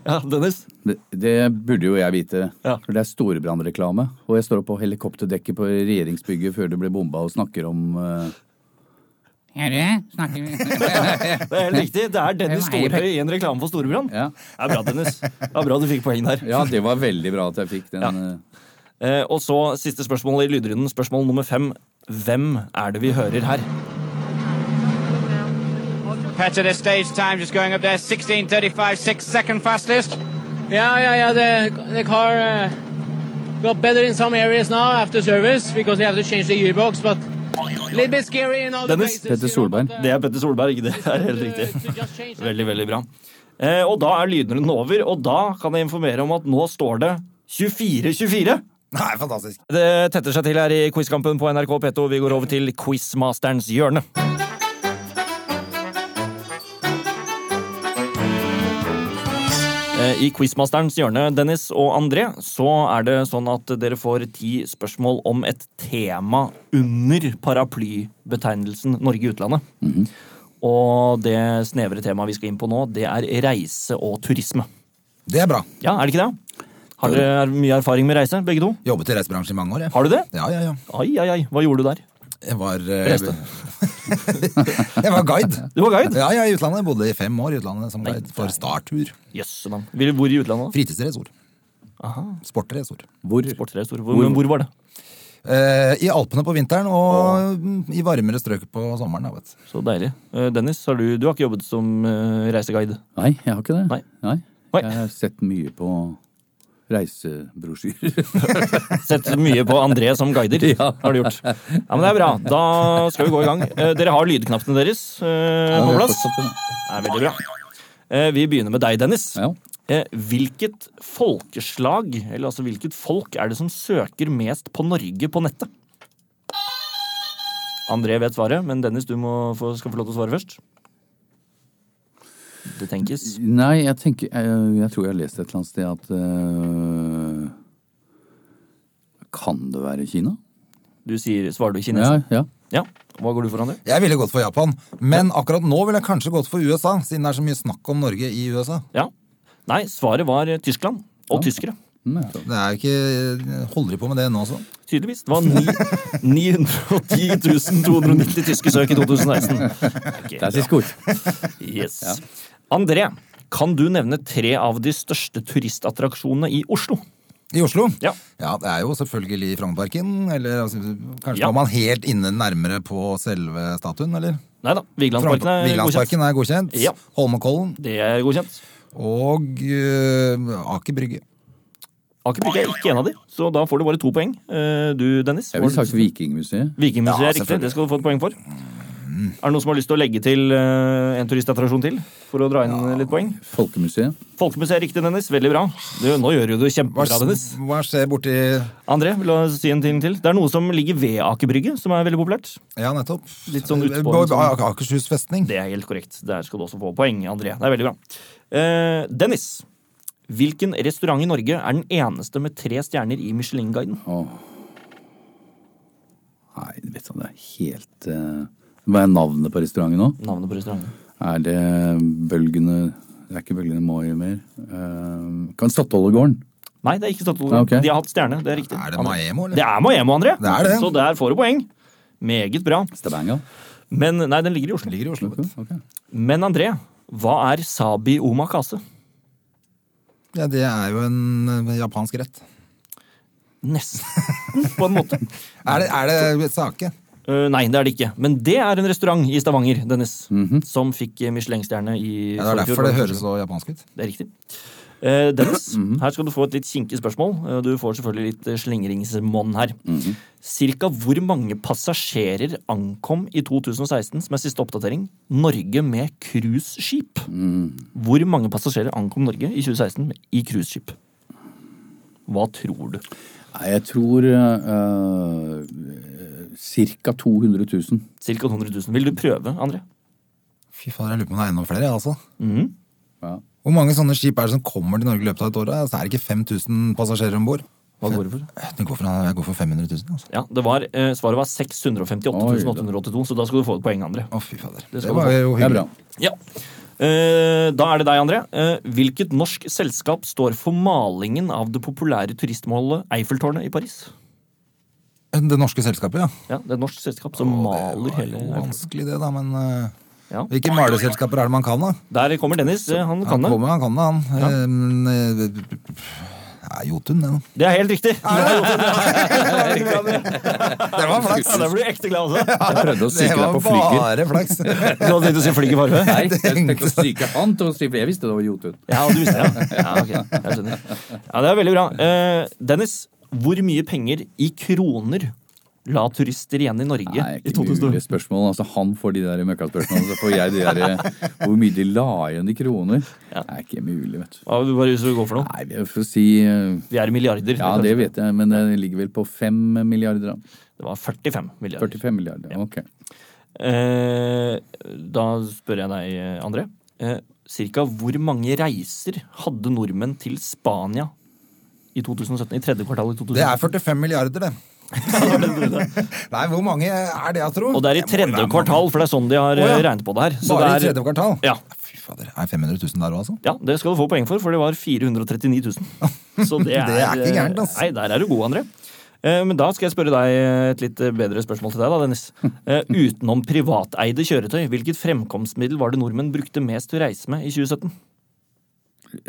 [SPEAKER 1] Ja, Dennis?
[SPEAKER 5] Det, det burde jo jeg vite.
[SPEAKER 1] Ja.
[SPEAKER 5] For det er storebrannreklame. Og jeg står opp på helikopterdekket på regjeringsbygget før det ble bomba, og snakker om eh,
[SPEAKER 1] Det er helt riktig. Det er Dennis
[SPEAKER 5] Hvem eier
[SPEAKER 1] Storhøy i en reklame for Storebrann.
[SPEAKER 5] Ja.
[SPEAKER 1] Det er bra, Dennis. Det er bra du fikk poeng der.
[SPEAKER 5] Ja, det var veldig bra at jeg fikk den.
[SPEAKER 1] Ja.
[SPEAKER 5] eh,
[SPEAKER 1] Eh, og så siste spørsmål i lydrunden. Spørsmål nummer fem. Hvem er det vi hører her?
[SPEAKER 7] Patch at their stage time just going up there, 16.35, six second fastest. Yeah, yeah, yeah, the, the car uh, got better in some areas now after service because they have to change the gearbox, but a little bit scary in other
[SPEAKER 1] Dennis,
[SPEAKER 7] places.
[SPEAKER 5] Petter
[SPEAKER 7] you know,
[SPEAKER 5] Solberg.
[SPEAKER 7] but, uh,
[SPEAKER 1] Det er Petter Solberg. Det er helt
[SPEAKER 7] to- Uh, to
[SPEAKER 1] riktig.
[SPEAKER 7] just change that.
[SPEAKER 1] Veldig, veldig bra. Eh, og da er lydrunden over, og da kan jeg informere om at nå står det 24-24.
[SPEAKER 4] Nei, fantastisk.
[SPEAKER 1] Det tetter seg til her i quizkampen på NRK P2. Vi går over til quizmasterens hjørne. Eh, I Quizmasterens hjørne, Dennis og André, så er det sånn at dere får ti spørsmål om et tema under paraplybetegnelsen Norge i utlandet. Og det snevre temaet vi skal inn på nå, det er reise og turisme.
[SPEAKER 4] Det er bra.
[SPEAKER 1] Ja, er det ikke det? Har dere mye erfaring med reise, begge to?
[SPEAKER 4] Jobbet i reisebransjen i mange år, jeg.
[SPEAKER 1] Har du det?
[SPEAKER 4] Ja, ja, ja.
[SPEAKER 1] Ai, ai, ai. Hva gjorde du der?
[SPEAKER 4] Jeg var eh, Jeg var guide.
[SPEAKER 1] Du var guide?
[SPEAKER 4] Ja, ja, i utlandet. Jeg bodde i fem år i utlandet som guide for Startur.
[SPEAKER 1] Jøss. navn. Vil- Hvor i utlandet? da?
[SPEAKER 4] Fritidsresort. Sportresort.
[SPEAKER 5] Hvor?
[SPEAKER 1] Sportsreisor. Hvor, men hvor var det?
[SPEAKER 4] Eh, I Alpene på vinteren og mm, i varmere strøk på sommeren. Da, vet. du.
[SPEAKER 1] Så deilig. Eh, Dennis, har du, du har ikke jobbet som eh, reiseguide?
[SPEAKER 5] Nei, jeg har ikke det.
[SPEAKER 1] Nei. Nei.
[SPEAKER 5] Jeg har sett mye på reisebrosjyrer.
[SPEAKER 1] Sett mye på André som guider, har du gjort. Ja, men Det er bra. Da skal vi gå i gang. Eh, Dere har lydknappene deres eh, på plass. Det er veldig bra. Eh, Vi begynner med deg, Dennis.
[SPEAKER 5] Ja.
[SPEAKER 1] Eh, Hvilket folkeslag, eller altså hvilket folk, er det som søker mest på Norge på nettet? André vet svaret, men Dennis, du må få, skal få lov til å svare først. Det tenkes.
[SPEAKER 5] Nei, jeg tenker Jeg, jeg tror jeg har lest et eller annet sted at øh, Kan det være Kina?
[SPEAKER 1] Du sier, svarer du
[SPEAKER 5] Ja,
[SPEAKER 1] kinesen?
[SPEAKER 5] ja.
[SPEAKER 1] Ja. Hva går du for, André?
[SPEAKER 4] Jeg ville gått for Japan, men akkurat nå ville jeg kanskje gått for USA, siden det er så mye snakk om Norge i USA.
[SPEAKER 1] Ja. Nei, svaret var eh, Tyskland. Og tyskere.
[SPEAKER 4] Det er jo ikke, Holder de på med det nå også?
[SPEAKER 1] Tydeligvis. Det var ni- 910 290 tyske søk i 2016.
[SPEAKER 5] Det er siste ord.
[SPEAKER 1] Yes. André, kan du nevne tre av de største turistattraksjonene i Oslo?
[SPEAKER 4] I Oslo?
[SPEAKER 1] Ja.
[SPEAKER 4] det er jo selvfølgelig Frognerparken. Eller altså, kanskje
[SPEAKER 1] Ja.
[SPEAKER 4] var man helt inne nærmere på selve statuen, eller?
[SPEAKER 1] Nei da. Vigelandsparken
[SPEAKER 4] Frogner-
[SPEAKER 1] er godkjent.
[SPEAKER 4] Vigelandsparken er godkjent.
[SPEAKER 1] Ja.
[SPEAKER 4] Holmenkollen
[SPEAKER 1] Det er godkjent.
[SPEAKER 4] og øh, Aker Brygge.
[SPEAKER 1] Aker Brygge er ikke en av de, så da får du bare to poeng. Eh, Du, Dennis.
[SPEAKER 5] Jeg ville
[SPEAKER 1] var-
[SPEAKER 5] sagt Vikingmuseet.
[SPEAKER 1] Vikingmuseet
[SPEAKER 4] Ja,
[SPEAKER 1] er riktig.
[SPEAKER 4] selvfølgelig.
[SPEAKER 1] Det skal du få et poeng for. Er det noen som har lyst til å legge til eh, en turistattraksjon til? For å dra inn eh, litt poeng?
[SPEAKER 5] Folkemuseet.
[SPEAKER 1] Folkemuseet er riktig, Dennis. Veldig bra. Du, nå gjør du det
[SPEAKER 4] Hva,
[SPEAKER 1] kjempebra, Dennis.
[SPEAKER 4] hva skjer borti
[SPEAKER 1] André, vil du si en ting til? Det er noe som ligger ved Aker Brygge, som er veldig populært.
[SPEAKER 4] Ja, nettopp. Eh,
[SPEAKER 1] Litt sånn ut på
[SPEAKER 4] Bo-
[SPEAKER 1] en sånn-
[SPEAKER 4] Ak- Akershus festning.
[SPEAKER 1] Det er helt korrekt. Der skal du også få poeng, André. Det er veldig bra. Eh, Dennis. Hvilken restaurant i Norge er den eneste med tre stjerner i Michelin-guiden?
[SPEAKER 5] Åh. Nei, vet du hva, det er helt eh, Hva er navnet på restauranten nå?
[SPEAKER 1] Navnet på restauranten.
[SPEAKER 5] Er det Bølgene Det er ikke Bølgene Moi mer. Eh, kan Statoilegården.
[SPEAKER 1] Nei, det er ikke Statoil.
[SPEAKER 5] Ja, ok.
[SPEAKER 1] De har hatt stjerne. Det er riktig.
[SPEAKER 4] Er det
[SPEAKER 1] André.
[SPEAKER 4] Maemo, eller?
[SPEAKER 1] Det er Maemo, André.
[SPEAKER 4] Det er det.
[SPEAKER 1] Så der får du poeng. Meget bra.
[SPEAKER 5] Stavanger.
[SPEAKER 1] Men nei, den ligger i Oslo.
[SPEAKER 4] Ligger i Oslo.
[SPEAKER 5] Ok, ok.
[SPEAKER 1] Men André, hva er sabi omakase?
[SPEAKER 4] Ja, det er jo en eh, japansk rett.
[SPEAKER 1] Nesten, på en måte.
[SPEAKER 4] Er det, er det sake?
[SPEAKER 1] Eh, nei, det er det ikke. Men det er en restaurant i Stavanger, Dennis, som fikk eh, Michelin-stjerne i
[SPEAKER 4] Mhm. Ja, det
[SPEAKER 1] forfjor.
[SPEAKER 4] er derfor det høres så japansk ut.
[SPEAKER 1] Det er riktig. Eh, Dennis, her skal du få et litt kinkig spørsmål. Eh, Du får selvfølgelig litt eh, slingringsmonn her. Cirka hvor mange passasjerer ankom i 2016, som er siste oppdatering, Norge med cruiseskip? Hvor mange passasjerer ankom Norge i 2016 med- i cruiseskip? Hva tror du?
[SPEAKER 5] Nei, jeg tror uh, ca. 200 000.
[SPEAKER 1] Cirka 200 000. Vil du prøve, André?
[SPEAKER 4] Fy fader, jeg lurer på om det er enda flere, jeg, altså.
[SPEAKER 5] Ja.
[SPEAKER 4] Hvor mange sånne skip er det som kommer til Norge i løpet av et år? da? Altså, er det ikke 5000 passasjerer om bord?
[SPEAKER 1] Hva går det for?
[SPEAKER 4] Jeg går for jeg går for 500 000, altså.
[SPEAKER 1] Ja, det var, eh, Svaret var 658 882, så da skal du få et poeng, André.
[SPEAKER 4] Å, fy fader.
[SPEAKER 1] Det
[SPEAKER 4] Det,
[SPEAKER 1] skal
[SPEAKER 4] var
[SPEAKER 1] du
[SPEAKER 4] jo
[SPEAKER 5] Det er
[SPEAKER 4] hyggelig.
[SPEAKER 5] bra.
[SPEAKER 1] Ja. Eh, Da er det deg, André. Eh, Hvilket norsk selskap står for malingen av det populære turistmålet Eiffeltårnet i Paris?
[SPEAKER 4] Det norske selskapet, ja.
[SPEAKER 1] Ja, Det er et norsk selskap som maler hele
[SPEAKER 4] Det er jo
[SPEAKER 1] Eiffeltårnet.
[SPEAKER 4] vanskelig det, da, men eh,
[SPEAKER 1] Ja.
[SPEAKER 4] Hvilke maleselskaper er det man kan, da?
[SPEAKER 1] Der kommer Dennis. eh, Han kan det.
[SPEAKER 4] kommer, han kan det, han. Eh, men, eh, ja, Jotun, det, da.
[SPEAKER 1] Det er helt riktig!
[SPEAKER 4] Det var flaks!
[SPEAKER 1] Ja, Der blir du ekte glad også.
[SPEAKER 5] Jeg prøvde å
[SPEAKER 4] Det
[SPEAKER 5] psyke deg
[SPEAKER 4] var
[SPEAKER 5] på flyger.
[SPEAKER 4] bare flaks.
[SPEAKER 1] Du hadde tenkt å si flink i farve?
[SPEAKER 5] Nei, jeg tenkte å psyke han til å si for jeg visste det var Jotun.
[SPEAKER 1] Ja, du visste det. Ja, ok. Jeg skjønner. Ja, det er veldig bra. Eh, Dennis, hvor mye penger i kroner la turister igjen i Norge i
[SPEAKER 5] Nei, ikke
[SPEAKER 1] 2000?
[SPEAKER 5] mulig spørsmål. Altså, han får de der møkkaspørsmålene, så får jeg de der eh, hvor mye de la igjen i kroner. Det er ikke mulig, vet du.
[SPEAKER 1] Hva vil du bare hvis du går for noe?
[SPEAKER 5] Nei, vi får si eh,
[SPEAKER 1] Vi er i milliarder.
[SPEAKER 5] Ja, det vet jeg, men det ligger vel på fem milliarder, da.
[SPEAKER 1] Det var 45 milliarder.
[SPEAKER 5] 45 milliarder, ok.
[SPEAKER 1] Eh, da spør jeg deg, André. Eh, cirka hvor mange reiser hadde nordmenn til Spania i 2017? I tredje kvartal i 2017?
[SPEAKER 4] Det er 45 milliarder, det. Nei, hvor mange er det, jeg tror?
[SPEAKER 1] Og det er i tredje kvartal, for det er sånn de har
[SPEAKER 4] Å, ja.
[SPEAKER 1] eh, regnet på det her. Så
[SPEAKER 4] Bare i
[SPEAKER 1] det er-
[SPEAKER 4] tredje kvartal?
[SPEAKER 1] Ja.
[SPEAKER 4] Fy fader, er 500 000 der òg, altså?
[SPEAKER 1] Ja, det skal du få poeng for, for det var 439 000. Så det er,
[SPEAKER 4] er ikke gærent, ass.
[SPEAKER 1] Nei, der er du god, André. Eh, Men da skal jeg spørre deg eh, et litt bedre spørsmål til deg, da, Dennis. Eh, Utenom privateide kjøretøy, hvilket fremkomstmiddel var det nordmenn brukte mest til å reise med i 2017?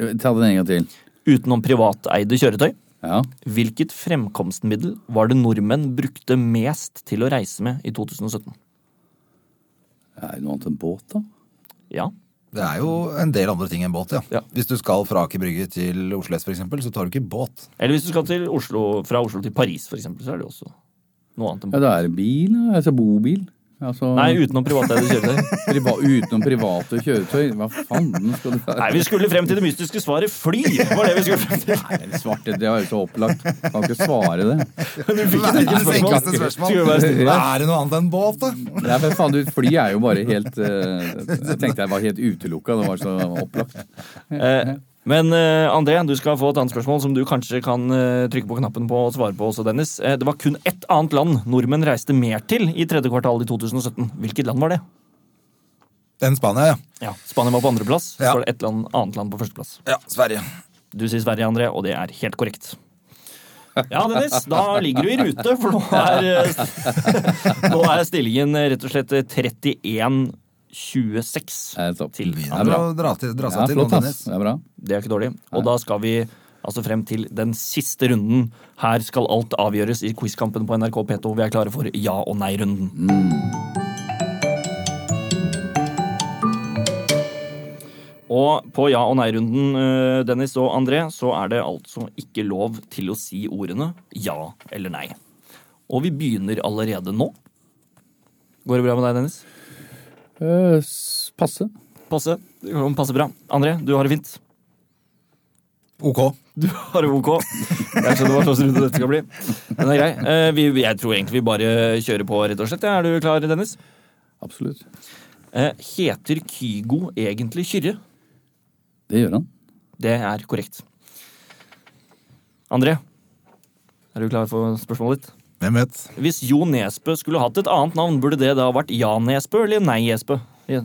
[SPEAKER 5] Eh, Ta den en gang til.
[SPEAKER 1] Utenom privateide kjøretøy,
[SPEAKER 5] Ja.
[SPEAKER 1] hvilket fremkomstmiddel var det nordmenn brukte mest til å reise med i 2017?
[SPEAKER 5] Er det noe annet enn båt, da?
[SPEAKER 1] Ja.
[SPEAKER 4] Det er jo en del andre ting enn båt, ja.
[SPEAKER 1] Ja.
[SPEAKER 4] Hvis du skal fra Aker Brygge til Oslo S, for eksempel, så tar du ikke båt.
[SPEAKER 1] Eller hvis du skal til Oslo, fra Oslo til Paris, for eksempel, så er det også noe annet enn
[SPEAKER 5] Ja,
[SPEAKER 1] båt.
[SPEAKER 5] da er det bil, da. altså bobil. Altså,
[SPEAKER 1] Nei, utenom privateide kjøretøy.
[SPEAKER 5] priva utenom private kjøretøy. Hva fanden skal du
[SPEAKER 1] Nei, vi skulle frem til det mystiske svaret fly! var det vi skulle frem til.
[SPEAKER 5] Nei, Svarte, det var jo så opplagt. Kan ikke svare det.
[SPEAKER 1] Du fikk et enkelt
[SPEAKER 4] Verdens
[SPEAKER 1] spørsmål.
[SPEAKER 4] enkleste spørsmål.
[SPEAKER 1] Skulle være stille.
[SPEAKER 4] Er det noe annet enn båt, da?
[SPEAKER 5] Nei, men faen, du, fly er jo bare helt eh, Jeg tenkte jeg var helt utelukka. Det var så opplagt.
[SPEAKER 1] Eh, Men eh, André, du skal få et annet spørsmål som du kanskje kan eh, trykke på knappen på og svare på også, Dennis. Eh, Det var kun ett annet land nordmenn reiste mer til i tredje kvartal i 2017. Hvilket land var det?
[SPEAKER 4] Den Spania, ja.
[SPEAKER 1] Ja, Spania var på andreplass, så
[SPEAKER 4] Ja.
[SPEAKER 1] var det et land, annet land på førsteplass.
[SPEAKER 4] Ja, Sverige.
[SPEAKER 1] Du sier Sverige, André, og det er helt korrekt. Ja, Dennis, da ligger du i rute, for nå er, eh, nå er stillingen eh, rett og slett 31-26
[SPEAKER 5] Er det topp?
[SPEAKER 1] til
[SPEAKER 5] er
[SPEAKER 4] Begynner
[SPEAKER 5] bra.
[SPEAKER 4] å dra, til, dra
[SPEAKER 5] Ja,
[SPEAKER 4] seg til nå,
[SPEAKER 5] flott, ass.
[SPEAKER 4] Dennis.
[SPEAKER 5] Det er bra.
[SPEAKER 1] Det er ikke dårlig. Og da skal vi altså frem til den siste runden. Her skal alt avgjøres i quizkampen på NRK P2. Vi er klare for ja- og nei-runden. Og på ja- og nei-runden, eh, Dennis og André, så er det altså ikke lov til å si ordene ja eller nei. Og vi begynner allerede nå. Går det bra med deg, Dennis?
[SPEAKER 5] Eh, s- passe.
[SPEAKER 1] Passe. Det kommer Passe bra. André, du har det fint.
[SPEAKER 4] Ok.
[SPEAKER 1] Du har det ok. Jeg skjønner hva slags runde dette skal bli. Den er grei. Eh, vi, jeg tror egentlig vi bare kjører på, rett og slett. Er du klar, Dennis?
[SPEAKER 5] Absolutt.
[SPEAKER 1] Eh, heter Kygo egentlig Kyrre?
[SPEAKER 5] Det gjør han.
[SPEAKER 1] Det er korrekt. André, er du klar for spørsmålet ditt?
[SPEAKER 4] Hvem vet?
[SPEAKER 1] Hvis Jo Nesbø skulle hatt et annet navn, burde det da vært Ja Nesbø eller Nei Jesbø? Ja,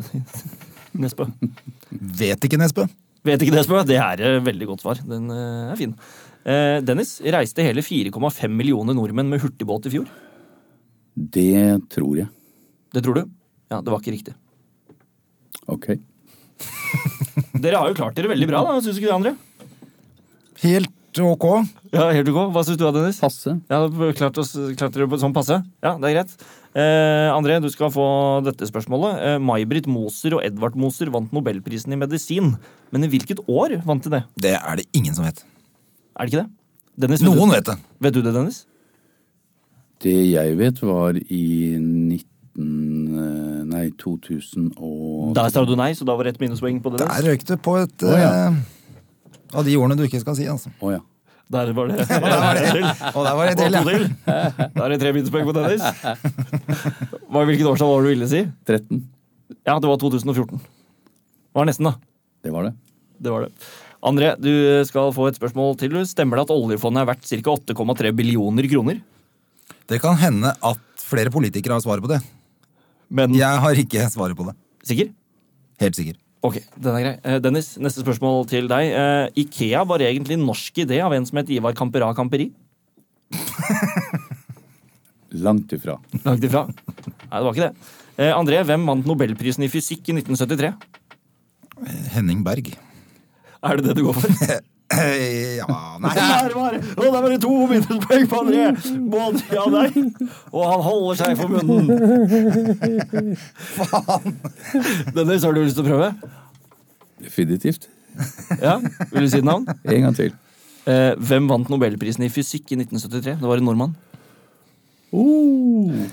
[SPEAKER 1] Nesbø.
[SPEAKER 4] Vet ikke, Nesbø.
[SPEAKER 1] Vet ikke Nesbø? Det er et veldig godt svar. Den eh, er fin. Eh, Dennis reiste hele 4,5 millioner nordmenn med hurtigbåt i fjor.
[SPEAKER 5] Det tror jeg.
[SPEAKER 1] Det tror du? Ja, det var ikke riktig.
[SPEAKER 5] Ok.
[SPEAKER 1] Dere har jo klart dere veldig bra, da, syns ikke du, André?
[SPEAKER 4] Helt ok.
[SPEAKER 1] Ja, helt ok. Hva syns du, Dennis?
[SPEAKER 5] Passe.
[SPEAKER 1] Ja, da klarte, oss, klarte dere på sånn passe? Ja, det er greit. Eh, André, du skal få dette spørsmålet. Eh, May-Britt Moser og Edvard Moser vant Nobelprisen i medisin. Men i hvilket år vant de det?
[SPEAKER 4] Det er det ingen som vet.
[SPEAKER 1] Er det ikke det? Dennis, vet
[SPEAKER 4] Noen
[SPEAKER 1] du,
[SPEAKER 4] vet det.
[SPEAKER 1] vet du det, Dennis?
[SPEAKER 5] Det jeg vet, var i 19... Nei, 2000 og
[SPEAKER 1] Der sa du nei, så da var det ett minuspoeng på Dennis.
[SPEAKER 4] Der røyk du på et
[SPEAKER 5] Å, ja.
[SPEAKER 4] eh, av de ordene du ikke skal si, altså.
[SPEAKER 5] Å ja.
[SPEAKER 1] Der var det. Ja,
[SPEAKER 4] Og der var det
[SPEAKER 1] det
[SPEAKER 4] del,
[SPEAKER 1] var
[SPEAKER 4] ja.
[SPEAKER 1] til. Da er det tre minuspoeng på Dennis. Hva, hvilket årstall var det du ville si?
[SPEAKER 5] 13.
[SPEAKER 1] Ja, det var 2014. Det var nesten, da.
[SPEAKER 5] Det var det.
[SPEAKER 1] Det var det. André, du skal få et spørsmål til. Stemmer det at oljefondet er verdt ca. 8,3 billioner kroner?
[SPEAKER 4] Det kan hende at flere politikere har svaret på det.
[SPEAKER 1] Men
[SPEAKER 4] Jeg har ikke svaret på det.
[SPEAKER 1] sikker?
[SPEAKER 4] Helt sikker.
[SPEAKER 1] Ok, den er grei. Eh, Dennis, neste spørsmål til deg. Eh, Ikea var egentlig en norsk idé av en som het Ivar Campera Camperi.
[SPEAKER 5] Langt ifra.
[SPEAKER 1] Langt ifra. Nei, det var ikke det. Eh, André, hvem vant nobelprisen i fysikk i 1973?
[SPEAKER 4] Henning Berg.
[SPEAKER 1] Er det det du går for?
[SPEAKER 4] Eh, Ja, nei
[SPEAKER 1] Der var det! Og der var det to minuspoeng på André! Både ja og nei. Og han holder seg for munnen. Faen! Dennis, har du lyst til å prøve?
[SPEAKER 5] Definitivt.
[SPEAKER 1] Ja, Vil du si et navn?
[SPEAKER 5] En gang til.
[SPEAKER 1] Eh, hvem vant nobelprisen i fysikk i 1973? Det var en nordmann.
[SPEAKER 5] Uh.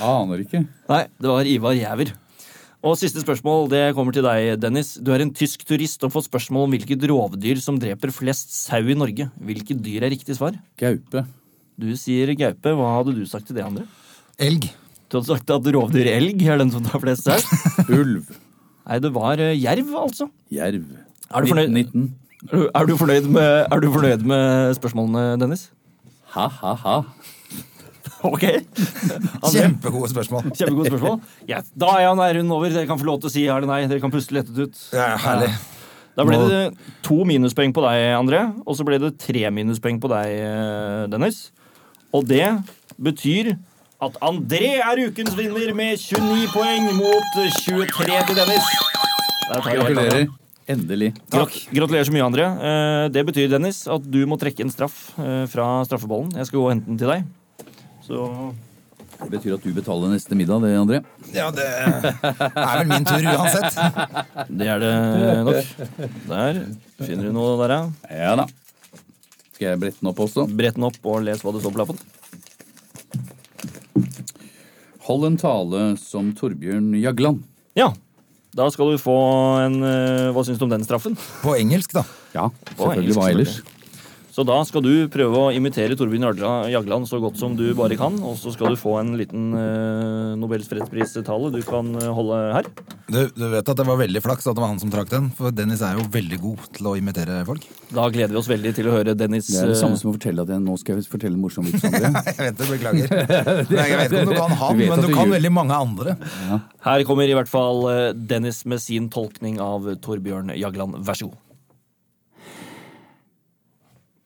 [SPEAKER 5] Aner ikke.
[SPEAKER 1] Nei, det var Ivar Gjæver. Og siste spørsmål det kommer til deg, Dennis. Du er en tysk turist og får spørsmål om hvilket rovdyr som dreper flest sau i Norge. Hvilket dyr er riktig svar?
[SPEAKER 5] Gaupe.
[SPEAKER 1] Du sier gaupe. Hva hadde du sagt til det, André?
[SPEAKER 4] Elg.
[SPEAKER 1] Du hadde sagt at rovdyr elg er den som tar flest sau?
[SPEAKER 5] Ulv.
[SPEAKER 1] Nei, det var eh, jerv, altså.
[SPEAKER 5] Jerv.
[SPEAKER 1] Er du fornøyd,
[SPEAKER 5] 1919.
[SPEAKER 1] er du, er du fornøyd, med, er du fornøyd med spørsmålene, Dennis?
[SPEAKER 5] Ha, ha, ha.
[SPEAKER 1] Ok. André?
[SPEAKER 4] Kjempegode spørsmål.
[SPEAKER 1] Kjempegodt spørsmål. Ja, da er han der runden over. Dere kan få lov til å si ja eller nei. Dere kan puste lettet ut.
[SPEAKER 4] Ja, herlig.
[SPEAKER 1] Da ble det to minuspoeng på deg, André. Og så ble det tre minuspoeng på deg, eh, Dennis. Og det betyr at André er ukens vinner med 29 poeng mot 23 til Dennis. Der tar vi helt av.
[SPEAKER 5] Gratulerer. Endelig.
[SPEAKER 1] Grat Gratulerer så mye, André. Eh, Det betyr, Dennis, at du må trekke en straff eh, fra straffebollen. Jeg skal gå og hente den til deg. Så
[SPEAKER 5] Det betyr at du betaler neste middag, det, André.
[SPEAKER 4] Ja, det er vel min tur uansett.
[SPEAKER 1] det er det nok. Der finner du noe der, ja.
[SPEAKER 5] Ja da. Skal jeg brette den opp også?
[SPEAKER 1] Brett den opp og les hva det står på lappen.
[SPEAKER 5] Hold en tale som Torbjørn Jagland.
[SPEAKER 1] Ja. Da skal du få en eh, Hva syns du om den straffen?
[SPEAKER 4] På engelsk, da.
[SPEAKER 5] Ja,
[SPEAKER 1] engelsk,
[SPEAKER 5] selvfølgelig. Hva ellers?
[SPEAKER 1] Så da skal du prøve å imitere Torbjørn Jarla- Jagland så godt som du bare kan. Og så skal du få en liten eh, Nobels fredspris-tale du kan eh, holde her.
[SPEAKER 4] Du, du vet at det var veldig flaks at det var han som trakk den, for Dennis er jo veldig god til å imitere folk.
[SPEAKER 1] Da gleder vi oss veldig til å høre Dennis
[SPEAKER 5] Det er det
[SPEAKER 1] eh,
[SPEAKER 5] samme som å fortelle at jeg nå skal jeg fortelle en morsom vits, André.
[SPEAKER 4] Jeg vet det, beklager. Nei, Jeg vet ikke om du kan han,
[SPEAKER 5] Du vet
[SPEAKER 4] men
[SPEAKER 5] at
[SPEAKER 4] du
[SPEAKER 5] du
[SPEAKER 4] kan
[SPEAKER 5] gjør-
[SPEAKER 4] veldig mange andre.
[SPEAKER 1] Her kommer i hvert fall eh, Dennis med sin tolkning av Torbjørn Jagland. Vær så god.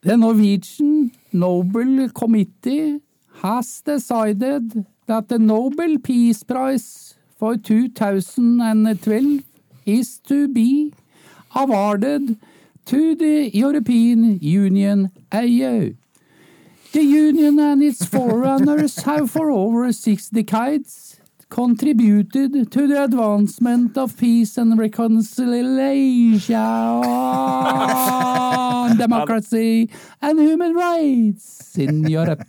[SPEAKER 5] The Norwegian Nobel Committee has decided that the Nobel Peace Prize for 2012 is to be awarded to the European Union AU. The Union and its forerunners have for over six decades contributed to the advancement of peace and reconciliation, democracy, and human rights in Europe.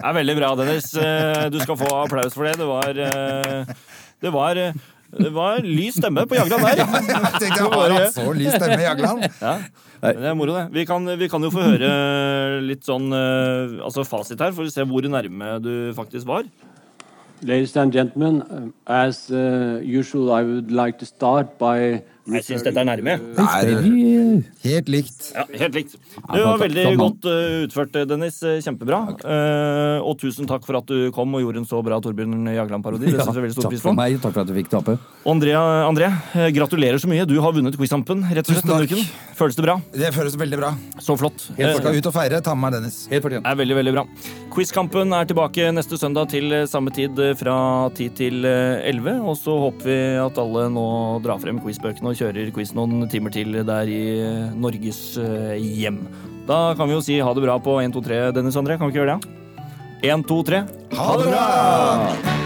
[SPEAKER 1] Det er veldig bra, Dennis. Eh, Du skal få applaus for det. Det var eh, Det var, eh, det var lys stemme på Jagland der.
[SPEAKER 4] Jeg tenkte jeg har hatt så lys stemme, Jagland.
[SPEAKER 1] Men det er moro, det. Vi kan, vi kan jo få høre litt sånn eh, altså fasit her, for å se hvor nærme du faktisk var.
[SPEAKER 9] Ladies and gentlemen, um, as uh, usual, I would like to start by
[SPEAKER 1] Jeg syns dette er nærme.
[SPEAKER 5] Riktig.
[SPEAKER 4] Helt likt.
[SPEAKER 1] Ja, helt likt. Det
[SPEAKER 5] Ja,
[SPEAKER 1] var
[SPEAKER 5] takk,
[SPEAKER 1] veldig
[SPEAKER 5] takk, mann.
[SPEAKER 1] godt eh, utført, eh, Dennis. Eh, Kjempebra. Eh, og tusen takk for at du kom og gjorde en så bra Torbjørn Jagland-parodi. Det
[SPEAKER 5] Ja,
[SPEAKER 1] setter vi veldig stor
[SPEAKER 5] takk
[SPEAKER 1] pris
[SPEAKER 5] for
[SPEAKER 1] på.
[SPEAKER 5] meg. Takk for at du fikk tape.
[SPEAKER 1] Og Andrea, André, eh, gratulerer så mye. Du har vunnet Quizkampen. rett og slett
[SPEAKER 4] Tusen
[SPEAKER 1] denne
[SPEAKER 4] takk.
[SPEAKER 1] uken. Føles det bra?
[SPEAKER 4] Det føles veldig bra.
[SPEAKER 1] Så flott.
[SPEAKER 4] Jeg
[SPEAKER 1] Eh,
[SPEAKER 4] skal ut og feire. Ta med meg Dennis.
[SPEAKER 5] Helt fortjent.
[SPEAKER 1] er veldig, veldig bra. Quizkampen er tilbake neste søndag til eh, samme tid, eh, fra 10 til eh, 11. Og så håper vi at alle nå drar frem quizbøkene og kjører quiz noen timer til der i eh, Norges eh, hjem. Da kan vi jo si ha det bra på 1, 2, 3, Dennis André. Kan vi ikke gjøre det? 1, 2, 3.
[SPEAKER 4] Ha det bra!